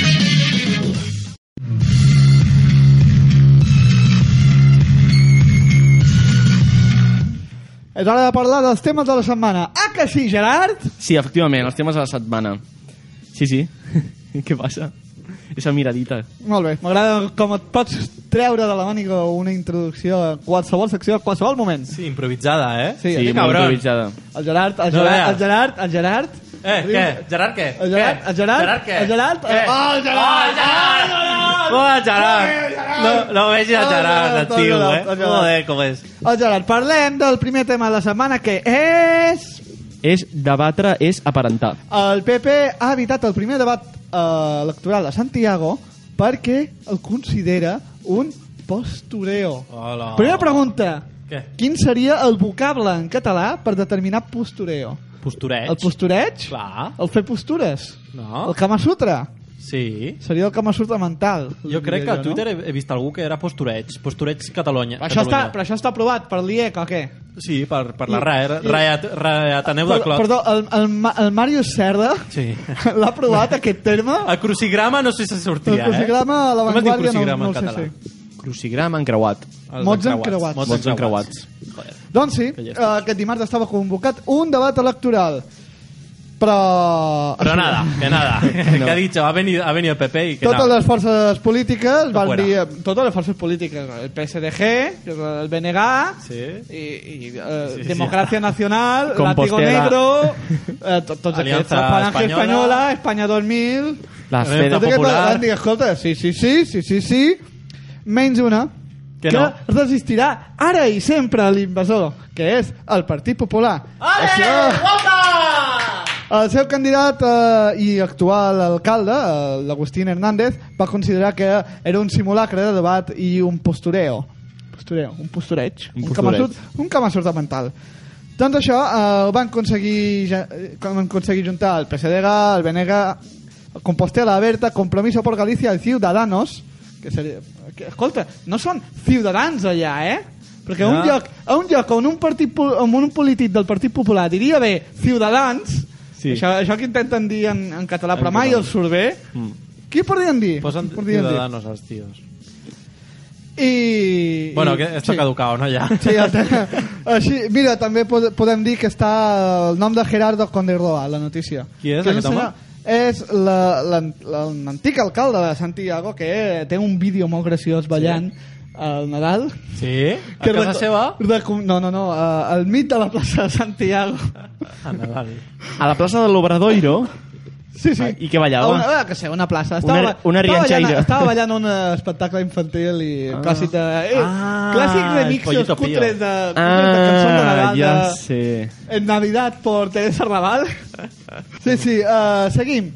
[SPEAKER 1] És és hora de parlar dels temes de la setmana. Ah, que sí, Gerard?
[SPEAKER 3] Sí, efectivament, els temes de la setmana. Sí, sí. Què passa? Esa miradita.
[SPEAKER 1] Molt bé, m'agrada com et pots treure de la màniga una introducció a qualsevol secció, a qualsevol moment.
[SPEAKER 2] Sí, improvisada, eh?
[SPEAKER 1] Sí,
[SPEAKER 3] sí,
[SPEAKER 1] aquest
[SPEAKER 3] molt
[SPEAKER 2] cabron.
[SPEAKER 3] improvisada.
[SPEAKER 1] El Gerard, el
[SPEAKER 2] No
[SPEAKER 1] Gerard,
[SPEAKER 2] veas.
[SPEAKER 1] el Gerard, el Gerard...
[SPEAKER 2] Eh,
[SPEAKER 1] Riu-
[SPEAKER 2] què? Gerard què?
[SPEAKER 1] El Gerard,
[SPEAKER 2] Què?
[SPEAKER 1] el Gerard,
[SPEAKER 2] Gerard què?
[SPEAKER 1] el Gerard,
[SPEAKER 2] Què?
[SPEAKER 1] eh, oh, el Gerard,
[SPEAKER 2] Oh, el
[SPEAKER 1] oh,
[SPEAKER 2] Gerard! Oh, el
[SPEAKER 1] Oh, el
[SPEAKER 2] Gerard!
[SPEAKER 1] Gerard!
[SPEAKER 2] No, no vegis
[SPEAKER 1] Oh,
[SPEAKER 2] el
[SPEAKER 1] el
[SPEAKER 2] Gerard,
[SPEAKER 1] Gerard,
[SPEAKER 2] el tio,
[SPEAKER 1] el Gerard,
[SPEAKER 2] eh?
[SPEAKER 1] el Gerard.
[SPEAKER 2] Joder, com és.
[SPEAKER 1] El Oh, Gerard, parlem del primer tema de la setmana, que és...
[SPEAKER 3] És debatre, és aparentar.
[SPEAKER 1] El PP ha evitat el primer debat eh, electoral a Santiago perquè el considera un postureo.
[SPEAKER 2] Hola.
[SPEAKER 1] Primera pregunta.
[SPEAKER 2] Oh. Què?
[SPEAKER 1] Quin seria el vocable en català per determinar postureo?
[SPEAKER 2] Postureig.
[SPEAKER 1] El postureig?
[SPEAKER 2] Clar.
[SPEAKER 1] El fer postures?
[SPEAKER 2] No.
[SPEAKER 1] El Kama Sutra?
[SPEAKER 2] Sí.
[SPEAKER 1] Seria el Kama Sutra mental.
[SPEAKER 2] Jo crec que
[SPEAKER 1] diria
[SPEAKER 2] a Twitter he he vist algú que era postureig. Postureig Catalunya.
[SPEAKER 1] Però això, està,
[SPEAKER 2] Catalunya.
[SPEAKER 1] però això està aprovat per l'IEC o què?
[SPEAKER 2] Sí, per, per la
[SPEAKER 1] I-
[SPEAKER 2] RAE.
[SPEAKER 1] i-
[SPEAKER 2] RAE, RAE Ateneu de
[SPEAKER 1] Per-
[SPEAKER 2] Clot.
[SPEAKER 1] Perdó, el, el, Ma- el Màrius Cerda
[SPEAKER 2] Sí.
[SPEAKER 1] l'ha aprovat aquest terme?
[SPEAKER 2] El crucigrama no sé si sortia,
[SPEAKER 1] El crucigrama a
[SPEAKER 2] eh?
[SPEAKER 1] la
[SPEAKER 2] Com es diu
[SPEAKER 1] Vanguardia no-
[SPEAKER 2] crucigrama
[SPEAKER 1] no
[SPEAKER 2] en
[SPEAKER 1] el sé,
[SPEAKER 2] català?
[SPEAKER 3] Crucigrama encreuat.
[SPEAKER 2] Els
[SPEAKER 1] Mots
[SPEAKER 2] encreuats.
[SPEAKER 1] encreuats.
[SPEAKER 3] Mots
[SPEAKER 2] Joder.
[SPEAKER 1] Doncs sí,
[SPEAKER 2] Que ja
[SPEAKER 1] eh,
[SPEAKER 2] està.
[SPEAKER 1] aquest dimarts estava convocat un debat electoral. Però...
[SPEAKER 2] Però
[SPEAKER 1] Així-
[SPEAKER 2] nada, que nada.
[SPEAKER 3] No.
[SPEAKER 2] Que ha dicho, ha venido, ha venido el PP y que
[SPEAKER 1] Totes
[SPEAKER 2] nada.
[SPEAKER 1] les forces polítiques van
[SPEAKER 2] fuera.
[SPEAKER 1] dir... eh, Totes les forces polítiques, el PSDG, el BNG,
[SPEAKER 2] Sí.
[SPEAKER 1] i, i eh,
[SPEAKER 2] Sí, sí.
[SPEAKER 1] Democràcia Nacional, Látigo
[SPEAKER 3] Compostela.
[SPEAKER 1] Negro, eh, to- tots aquests,
[SPEAKER 2] Alianza
[SPEAKER 1] la Falange
[SPEAKER 2] Española.
[SPEAKER 1] Espanyola, Espanya 2000...
[SPEAKER 3] La
[SPEAKER 2] A veure,
[SPEAKER 3] Feda
[SPEAKER 1] Tot aquest
[SPEAKER 3] Popular.
[SPEAKER 1] van dir, escolta, sí, sí, sí, sí, sí, sí, menys una
[SPEAKER 2] Que
[SPEAKER 1] que,
[SPEAKER 2] no.
[SPEAKER 1] resistirà ara i sempre a l'invasor, que és el Partit Popular. Això... El seu candidat eh, i actual alcalde, eh, l'Agustín Hernández, va considerar que era un simulacre de debat i un postureo. Postureo, un postureig.
[SPEAKER 3] Un
[SPEAKER 1] Un,
[SPEAKER 3] postureig.
[SPEAKER 1] camasut, un camasut mental. Doncs això eh, ho van aconseguir, ja- eh, van aconseguir juntar el PSDG, el BNG, el Compostela Berta, Compromiso por Galicia i Ciudadanos. Que seria, que, escolta, no són ciutadans allà, eh? Perquè a un,
[SPEAKER 2] Ja.
[SPEAKER 1] lloc, a un lloc on un, partit, po- on un polític del Partit Popular diria bé Ciutadans, sí.
[SPEAKER 3] Sí.
[SPEAKER 1] això, això que intenten dir en, en català, però
[SPEAKER 3] En
[SPEAKER 1] mai
[SPEAKER 3] català.
[SPEAKER 1] el surt bé. Qui podrien dir?
[SPEAKER 2] Mm. Posen
[SPEAKER 1] Qui podrien dir?
[SPEAKER 2] ciudadanos els tios.
[SPEAKER 1] I,
[SPEAKER 2] Bueno,
[SPEAKER 1] i-
[SPEAKER 2] que està
[SPEAKER 1] sí.
[SPEAKER 2] caducado, no, ja?
[SPEAKER 1] Sí, el tema- Així, mira, també pod- podem dir que està el nom de Gerardo Conderloa, a la notícia.
[SPEAKER 2] Qui és
[SPEAKER 1] Que
[SPEAKER 2] aquest
[SPEAKER 1] un
[SPEAKER 2] home?
[SPEAKER 1] senyor- És la- la- la- l'antic alcalde de Santiago que té un vídeo molt graciós ballant al Nadal.
[SPEAKER 2] Sí? A casa
[SPEAKER 1] reco-
[SPEAKER 2] seva?
[SPEAKER 1] recom- No, no, no, eh, al mig de la plaça de Santiago.
[SPEAKER 2] A Nadal.
[SPEAKER 3] A la plaça de l'Obradoiro,
[SPEAKER 1] Sí, sí.
[SPEAKER 3] Ah, i què ballava?
[SPEAKER 1] A Una, que sé, una plaça. Estava,
[SPEAKER 3] Una- una
[SPEAKER 1] estava
[SPEAKER 3] rianxaire.
[SPEAKER 1] ballant, estava ballant un eh, espectacle infantil i ah. clàssic de... Eh,
[SPEAKER 2] Ah,
[SPEAKER 1] clàssic
[SPEAKER 2] el
[SPEAKER 1] remixos
[SPEAKER 2] Pollito Pío.
[SPEAKER 1] cutres de, cutres de cançons de
[SPEAKER 3] Ah,
[SPEAKER 1] Nadal.
[SPEAKER 3] ja
[SPEAKER 1] de-
[SPEAKER 3] sé.
[SPEAKER 1] En Navidad por Teresa Raval. Sí, sí, uh, seguim.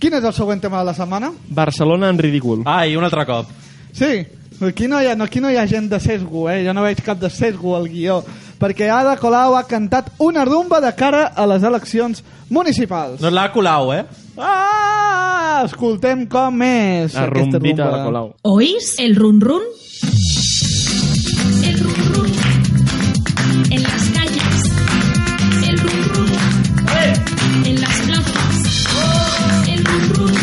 [SPEAKER 1] Quin és el següent tema de la setmana?
[SPEAKER 3] Barcelona en ridícul.
[SPEAKER 2] Ah, i un altre cop.
[SPEAKER 1] Sí, aquí no hi ha, no, aquí no hi ha gent de sesgo, eh? Jo no veig cap de sesgo al guió, perquè Ada Colau ha cantat una rumba de cara a les eleccions municipals.
[SPEAKER 2] No és la Colau, eh?
[SPEAKER 1] Ah! Escoltem com és
[SPEAKER 3] La
[SPEAKER 1] aquesta
[SPEAKER 3] rumbita de
[SPEAKER 1] rumba.
[SPEAKER 3] la Colau.
[SPEAKER 6] ¿Oís el run run? El run run. En las calles. El run run. En las plazas. El run run.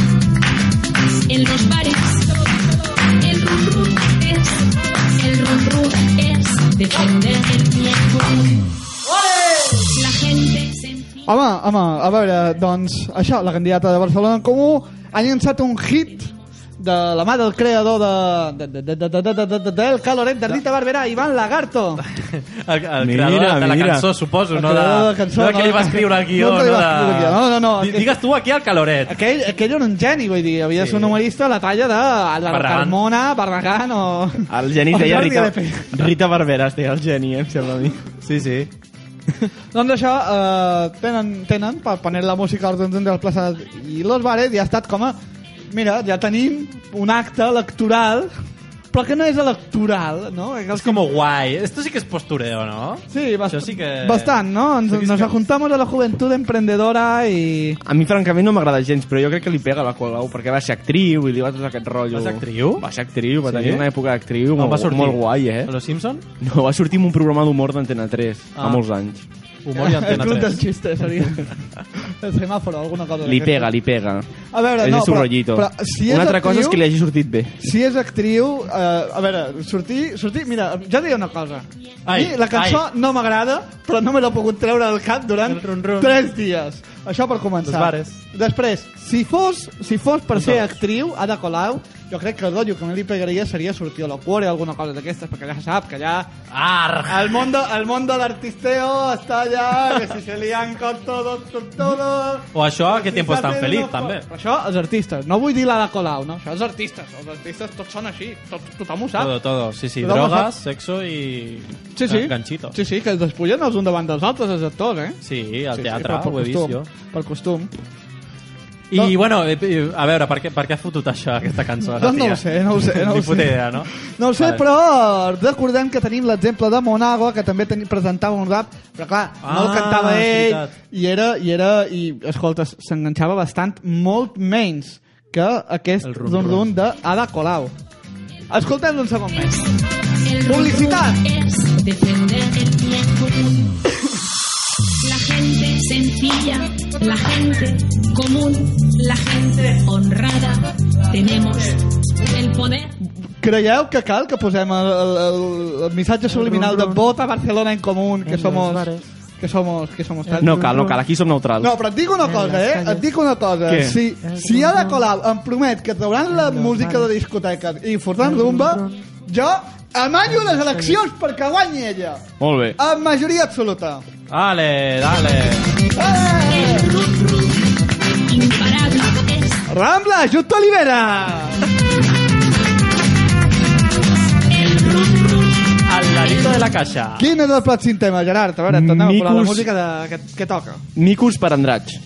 [SPEAKER 6] En los bares. El run run es. El run run es defender el tiempo. La gente se enfila.
[SPEAKER 1] Home, home, a veure, doncs això, la candidata de Barcelona en Comú ha llançat un hit de la mà del creador de, de, de, de, de, de, de, de, de del Caloret, de Rita Barberà, Ivan Lagarto.
[SPEAKER 2] El, el
[SPEAKER 3] Mira,
[SPEAKER 2] creador de la
[SPEAKER 3] mira.
[SPEAKER 2] cançó, suposo,
[SPEAKER 1] El
[SPEAKER 2] no de,
[SPEAKER 1] creador de la cançó,
[SPEAKER 2] no de que
[SPEAKER 1] no,
[SPEAKER 2] li va
[SPEAKER 1] no.
[SPEAKER 2] escriure el guió.
[SPEAKER 1] No, que li va escriure el guió. No, no, no,
[SPEAKER 2] Di-
[SPEAKER 1] aquest-
[SPEAKER 2] Digues tu aquí al caloret.
[SPEAKER 1] Aquell, aquell era un geni, vull dir, havia de ser un humorista a la talla de la
[SPEAKER 2] Barragán.
[SPEAKER 1] Carmona, Barragán o...
[SPEAKER 3] El geni
[SPEAKER 1] o
[SPEAKER 3] deia
[SPEAKER 1] Jordi
[SPEAKER 3] Rita,
[SPEAKER 1] Lepe.
[SPEAKER 3] Rita Barberà, es deia el geni, eh, em sembla a mi.
[SPEAKER 2] Sí, sí.
[SPEAKER 1] Doncs això, eh, tenen, tenen per poner la música als de les places i los bares i ha estat com a... Mira, ja tenim un acte electoral, però que no és electoral, no?
[SPEAKER 2] És com guai. Esto sí que és postureo, no?
[SPEAKER 1] Sí, bast
[SPEAKER 2] Això sí que-
[SPEAKER 1] bastant, ¿no? Ens,
[SPEAKER 2] Sí que-
[SPEAKER 1] nos juntamos a la juventud emprendedora y...
[SPEAKER 3] A mi, francament, no m'agrada gens, però jo crec que li pega a la Colau, perquè va ser actriu i li va tot aquest rotllo.
[SPEAKER 2] Va ser actriu?
[SPEAKER 3] Va ser actriu, va
[SPEAKER 2] Sí?
[SPEAKER 3] tenir una època d'actriu
[SPEAKER 2] On
[SPEAKER 3] molt, molt guai, eh?
[SPEAKER 2] A los Simpson?
[SPEAKER 3] No, va sortir en un programa d'humor d'Antena 3, ah.
[SPEAKER 2] Ah.
[SPEAKER 3] fa molts anys.
[SPEAKER 2] Humor i
[SPEAKER 1] El
[SPEAKER 2] Antena
[SPEAKER 1] club del
[SPEAKER 2] 3.
[SPEAKER 1] xiste, seria. El semáforo, alguna cosa
[SPEAKER 3] Li
[SPEAKER 1] d'aquestes.
[SPEAKER 3] pega, li pega.
[SPEAKER 1] A veure,
[SPEAKER 3] és
[SPEAKER 1] no,
[SPEAKER 3] el seu
[SPEAKER 1] però-
[SPEAKER 3] rotllito.
[SPEAKER 1] però si és
[SPEAKER 3] Una altra cosa
[SPEAKER 1] actriu-
[SPEAKER 3] és que li hagi sortit bé.
[SPEAKER 1] Si és actriu, eh, a veure, sortir, sortir... Mira, ja diré una cosa.
[SPEAKER 2] Ai,
[SPEAKER 1] a mi la cançó
[SPEAKER 2] ai.
[SPEAKER 1] no m'agrada, però no me l'he pogut treure del cap durant
[SPEAKER 2] El run, run.
[SPEAKER 1] 3 dies. Això per
[SPEAKER 2] Els
[SPEAKER 1] començar.
[SPEAKER 2] bares.
[SPEAKER 1] Després, si fos, si fos per
[SPEAKER 2] Els
[SPEAKER 1] ser
[SPEAKER 2] bares.
[SPEAKER 1] actriu, Ada Colau, jo crec que el rotllo que me li pegaria seria sortir a la cuore o alguna cosa d'aquestes, perquè ja sap que ja...
[SPEAKER 2] Arr!
[SPEAKER 1] El món, de, el món del artisteo està allà, que si se lian con todo, con todo...
[SPEAKER 2] O això,
[SPEAKER 1] Sí,
[SPEAKER 2] que Ah, tiempo
[SPEAKER 1] s'ha
[SPEAKER 2] tan
[SPEAKER 1] fet
[SPEAKER 2] feliz,
[SPEAKER 1] una cosa.
[SPEAKER 2] també.
[SPEAKER 1] Però això, els artistes. No vull dir la de Colau, no? Això, els artistes. Els artistes tots són així. Tot, tothom ho sap.
[SPEAKER 2] Todo, todo. Sí, sí,
[SPEAKER 1] Tothom ho
[SPEAKER 2] drogas,
[SPEAKER 1] sap.
[SPEAKER 2] sexo i...
[SPEAKER 1] Sí, sí.
[SPEAKER 2] Ganchito.
[SPEAKER 1] Sí, sí, que es despullen els un davant dels altres, els actors, eh?
[SPEAKER 2] Sí, al
[SPEAKER 1] Sí, sí,
[SPEAKER 2] teatre,
[SPEAKER 1] però per
[SPEAKER 2] ho he vist
[SPEAKER 1] costum,
[SPEAKER 2] jo.
[SPEAKER 1] Per costum.
[SPEAKER 2] I,
[SPEAKER 1] No.
[SPEAKER 2] bueno, eh, eh, a veure, per què, per què ha fotut això, aquesta cançó? la
[SPEAKER 1] Doncs no
[SPEAKER 2] tia?
[SPEAKER 1] ho sé, no ho sé, no ho
[SPEAKER 2] Ni puta
[SPEAKER 1] sé.
[SPEAKER 2] idea, no?
[SPEAKER 1] No ho sé,
[SPEAKER 2] Vale.
[SPEAKER 1] però recordem que tenim l'exemple de Monago, que també teni, presentava un rap, però clar, no el
[SPEAKER 2] Ah,
[SPEAKER 1] cantava
[SPEAKER 2] és
[SPEAKER 1] ell,
[SPEAKER 2] veritat.
[SPEAKER 1] i era, i era, i escolta, s'enganxava bastant, molt menys que aquest
[SPEAKER 2] El rum,
[SPEAKER 1] run-run
[SPEAKER 2] rum.
[SPEAKER 1] d'Ada Colau. Escoltem un segon més.
[SPEAKER 6] El
[SPEAKER 1] Publicidad.
[SPEAKER 6] rumbo Es defender el bien común. La gente sencilla, la gente común, la gente honrada. Tenemos el poder.
[SPEAKER 1] Creieu que cal que posem el, el, el- el missatge subliminal de vota Barcelona en común, que somos... Que somos, que somos tal.
[SPEAKER 3] No cal, no cal, aquí som neutrals.
[SPEAKER 1] No, però et dic una cosa, eh? Et dic una cosa.
[SPEAKER 3] Què? Eh,
[SPEAKER 1] Si, si Ada Colau em promet que trauran la música de discoteca i fotran rumba, jo amanyo les eleccions perquè guanyi ella.
[SPEAKER 3] Molt bé.
[SPEAKER 1] Amb majoria absoluta.
[SPEAKER 2] Dale, dale.
[SPEAKER 1] Eh!
[SPEAKER 6] El rum rum imparable es
[SPEAKER 1] Rambla, Justo Olivera!
[SPEAKER 6] el rum rum.
[SPEAKER 2] Al ladito de la caixa.
[SPEAKER 1] Quin és el pròxim tema, Gerard? A veure, tornem a posar la
[SPEAKER 3] Micos.
[SPEAKER 1] música de, que, que toca.
[SPEAKER 3] Micos per Andratx.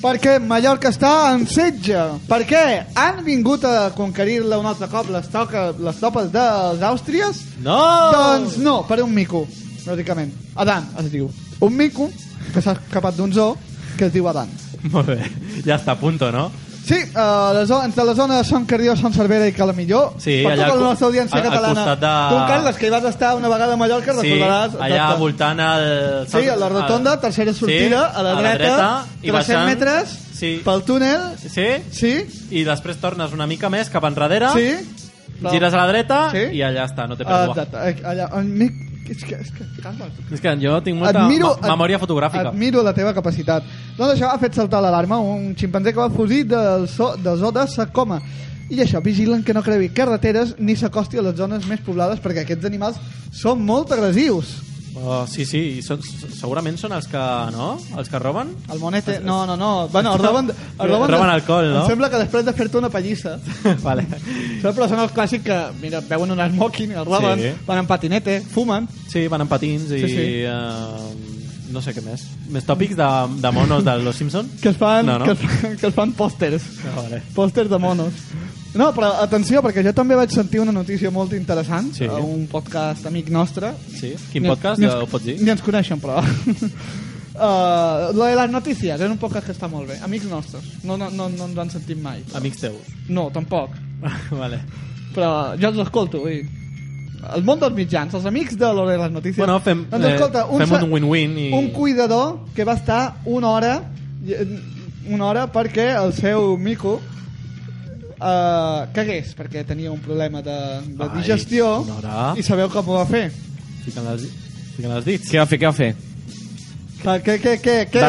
[SPEAKER 1] Perquè Mallorca està en setge. Perquè han vingut a conquerir-la un altre cop les, toca, les topes dels Àustries?
[SPEAKER 2] No!
[SPEAKER 1] Doncs no, per un mico, bàsicament. Adan es diu. Un mico que s'ha escapat d'un zoo que es diu Adan.
[SPEAKER 2] Molt bé. Ja està a punto, no?
[SPEAKER 1] Sí, eh, la zona, entre la zona de Sant Cardió, Sant Cervera i Calamilló,
[SPEAKER 2] Sí,
[SPEAKER 1] per tota
[SPEAKER 2] allà al
[SPEAKER 1] la
[SPEAKER 2] co-
[SPEAKER 1] nostra audiència
[SPEAKER 2] al- al
[SPEAKER 1] catalana.
[SPEAKER 2] costat de-
[SPEAKER 1] Tu, Carles, que hi vas estar una vegada a Mallorca,
[SPEAKER 2] Sí,
[SPEAKER 1] recordaràs...
[SPEAKER 2] allà
[SPEAKER 1] exacte.
[SPEAKER 2] voltant al...
[SPEAKER 1] Sí, a la rotonda, tercera sortida, a la dreta,
[SPEAKER 2] i
[SPEAKER 1] 300
[SPEAKER 2] baixant.
[SPEAKER 1] metres,
[SPEAKER 2] Sí.
[SPEAKER 1] pel túnel,
[SPEAKER 2] Sí?
[SPEAKER 1] sí,
[SPEAKER 2] I després tornes una mica més cap enrere.
[SPEAKER 1] Sí.
[SPEAKER 2] Gires a la dreta
[SPEAKER 1] Sí.
[SPEAKER 2] i allà està, no té
[SPEAKER 1] Ah,
[SPEAKER 2] pèrdua.
[SPEAKER 1] Exacte, eh, allà, on mi... És que, és que, Carles,
[SPEAKER 2] És que jo tinc molta
[SPEAKER 1] admiro-
[SPEAKER 2] ma- memòria
[SPEAKER 1] ad-
[SPEAKER 2] fotogràfica.
[SPEAKER 1] Admiro la teva capacitat. Doncs això ha fet saltar l'alarma, un ximpanzé que va fugir del so, del zoo de Sacoma. I això, vigilen que no crevi carreteres ni s'acosti a les zones més poblades perquè aquests animals són molt agressius.
[SPEAKER 2] Oh, sí, sí, i són, segurament són els que, no? Els que roben?
[SPEAKER 1] El monete... No, no, no. Bueno, es roben... Es roben,
[SPEAKER 2] Roben alcohol, no?
[SPEAKER 1] Em sembla que després de fer-te una pallissa...
[SPEAKER 2] vale.
[SPEAKER 1] Són persones clàssiques que, mira, veuen un smoking, el roben,
[SPEAKER 2] Sí.
[SPEAKER 1] van en patinete, fumen...
[SPEAKER 2] Sí, van amb patins i...
[SPEAKER 1] Sí, sí.
[SPEAKER 2] eh, no sé què més. Més tòpics de, de monos de Los Simpson?
[SPEAKER 1] que es fan,
[SPEAKER 2] No, no.
[SPEAKER 1] que es fan, que es fan pòsters.
[SPEAKER 2] Ah, vale.
[SPEAKER 1] Pòsters de monos. No, però atenció, perquè jo també vaig sentir una notícia molt interessant
[SPEAKER 2] Sí.
[SPEAKER 1] a un podcast amic nostre.
[SPEAKER 2] Sí? Quin
[SPEAKER 1] Ni-
[SPEAKER 2] podcast?
[SPEAKER 1] ni
[SPEAKER 2] Ni,
[SPEAKER 1] ens-
[SPEAKER 2] ho pots dir?
[SPEAKER 1] Ni ens coneixen, però... Uh, lo de les notícies, és un podcast que està molt bé amics nostres, no, no, no, no ens han sentit mai
[SPEAKER 2] Amics teus.
[SPEAKER 1] no, tampoc
[SPEAKER 2] vale.
[SPEAKER 1] però jo els escolto vull dir. el món dels mitjans, els amics de lo de les notícies
[SPEAKER 2] Bueno, fem, eh,
[SPEAKER 1] doncs, escolta, un,
[SPEAKER 2] fem
[SPEAKER 1] sa-
[SPEAKER 2] un win-win i...
[SPEAKER 1] un cuidador que va estar una hora i- una hora perquè el seu mico eh, cagués perquè tenia un problema de, de
[SPEAKER 2] Ai,
[SPEAKER 1] digestió
[SPEAKER 2] una hora.
[SPEAKER 1] i sabeu com ho va fer
[SPEAKER 2] Fiquen els, fiquen els dits.
[SPEAKER 3] Què va fer, què va fer?
[SPEAKER 1] què, què, què, què, què, és, què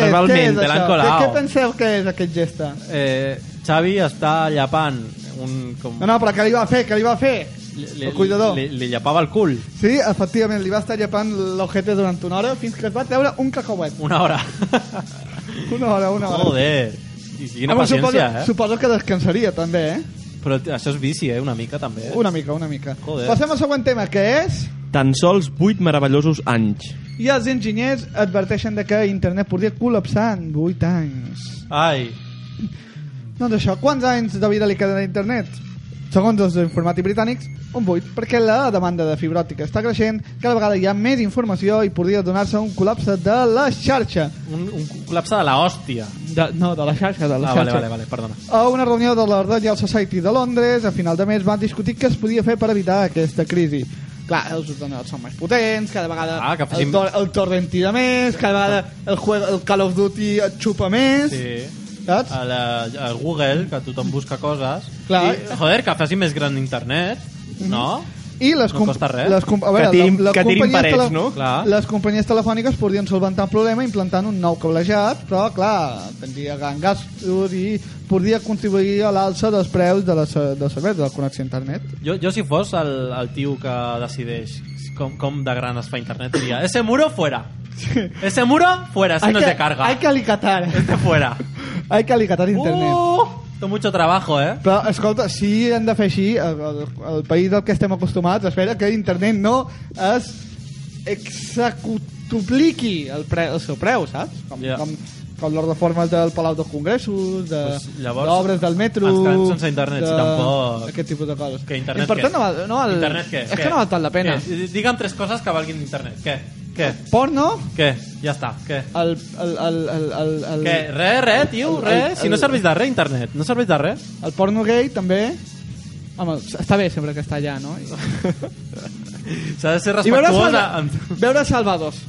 [SPEAKER 1] és
[SPEAKER 2] Verbalment, te l'han
[SPEAKER 1] això? Què,
[SPEAKER 2] colat.
[SPEAKER 1] què penseu que és aquest gesta?
[SPEAKER 2] Eh, Xavi està llapant un... Com...
[SPEAKER 1] No, no, però què li va fer? Què li va fer?
[SPEAKER 2] li, li,
[SPEAKER 1] el cuidador.
[SPEAKER 2] Li, li llapava el cul
[SPEAKER 1] Sí, efectivament, li va estar llepant l'ojete durant una hora fins que es va treure un cacauet.
[SPEAKER 2] una hora.
[SPEAKER 1] Una hora, una hora.
[SPEAKER 2] Joder. I quina
[SPEAKER 1] Home,
[SPEAKER 2] paciència,
[SPEAKER 1] suposo,
[SPEAKER 2] eh?
[SPEAKER 1] Suposo que descansaria, també, eh?
[SPEAKER 2] Però això és vici, eh? Una mica, també.
[SPEAKER 1] Una mica, una mica.
[SPEAKER 2] Joder.
[SPEAKER 1] Passem al següent tema, que és...
[SPEAKER 3] Tan sols 8 meravellosos anys.
[SPEAKER 1] I els enginyers adverteixen de que internet podria col·lapsar en 8 anys.
[SPEAKER 2] Ai,
[SPEAKER 1] Doncs això, quants anys de vida li queden a internet? Segons els informàtics britànics, un 8, perquè la demanda de fibra òptica està creixent, cada vegada hi ha més informació i podria donar-se un col·lapse de la xarxa.
[SPEAKER 2] un, un col·lapse de la hòstia.
[SPEAKER 1] De, no, de la xarxa, de
[SPEAKER 2] Ah, vale, vale, vale, perdona.
[SPEAKER 1] A una reunió de la Royal Society de Londres, a final de mes, van discutir què es podia fer per evitar aquesta crisi. Clar, els ordenadors són més potents, cada vegada
[SPEAKER 2] Ah, que facin-
[SPEAKER 1] el, tor el torrent tira més, cada vegada el, juego, el Call of Duty et xupa més,
[SPEAKER 2] Sí. Ah,
[SPEAKER 1] saps?
[SPEAKER 2] A, la, a Google, que tothom busca coses.
[SPEAKER 1] Clar. Mhm.
[SPEAKER 2] I, joder, que faci més gran internet, no?
[SPEAKER 1] I les,
[SPEAKER 2] No
[SPEAKER 1] com-
[SPEAKER 2] costa res.
[SPEAKER 1] les com- a
[SPEAKER 3] Que
[SPEAKER 1] veure,
[SPEAKER 3] tirin-
[SPEAKER 1] la, la
[SPEAKER 3] que tirin
[SPEAKER 1] companyies
[SPEAKER 3] parets,
[SPEAKER 1] tele-
[SPEAKER 3] no?
[SPEAKER 2] Clar.
[SPEAKER 1] Les companyies telefòniques podrien solventar el problema implantant un nou cablejat, però, clar, tindria gran gastos i podria contribuir a l'alça dels preus de la, se- del servei de la connexió a internet.
[SPEAKER 2] Jo, jo si fos el, el tio que decideix com, com de gran es fa internet, diria ese muro fuera. Ese muro fuera, ese no es de carga.
[SPEAKER 1] Hay que alicatar.
[SPEAKER 2] Este fuera.
[SPEAKER 1] Hay que alicatar internet.
[SPEAKER 2] Uh, esto mucho trabajo, eh?
[SPEAKER 1] Però, escolta, si hem de fer així, el, el, el país del que estem acostumats espera que internet no es executupliqui el, pre, el seu preu, saps? Com,
[SPEAKER 2] Ja.
[SPEAKER 1] yeah. com, com les reformes del Palau dels Congressos, de
[SPEAKER 2] Pues,
[SPEAKER 1] pues,
[SPEAKER 2] llavors,
[SPEAKER 1] d'obres del metro...
[SPEAKER 2] ens quedem sense internet, si tampoc-
[SPEAKER 1] Aquest tipus de coses.
[SPEAKER 2] Que internet
[SPEAKER 1] I per
[SPEAKER 2] què
[SPEAKER 1] tant, no
[SPEAKER 2] és?
[SPEAKER 1] val, no val,
[SPEAKER 2] internet què
[SPEAKER 1] és que no val tant la pena.
[SPEAKER 2] Què? Di- Digue'm tres coses que valguin internet. Què? Què?
[SPEAKER 1] Porno,
[SPEAKER 2] Què? Ja està. Què?
[SPEAKER 1] el... el, el, el, el, el
[SPEAKER 2] Què? Re, re, tio,
[SPEAKER 1] El-
[SPEAKER 2] re.
[SPEAKER 1] el-
[SPEAKER 2] Si no
[SPEAKER 1] el-
[SPEAKER 2] serveix de re, internet. No serveix de re.
[SPEAKER 1] El porno gay, també... Home, està bé sempre que està allà, no? I,
[SPEAKER 2] S'ha de ser
[SPEAKER 1] i veure,
[SPEAKER 2] respectuós.
[SPEAKER 1] salva,
[SPEAKER 2] Amb...
[SPEAKER 1] veure Salvadors.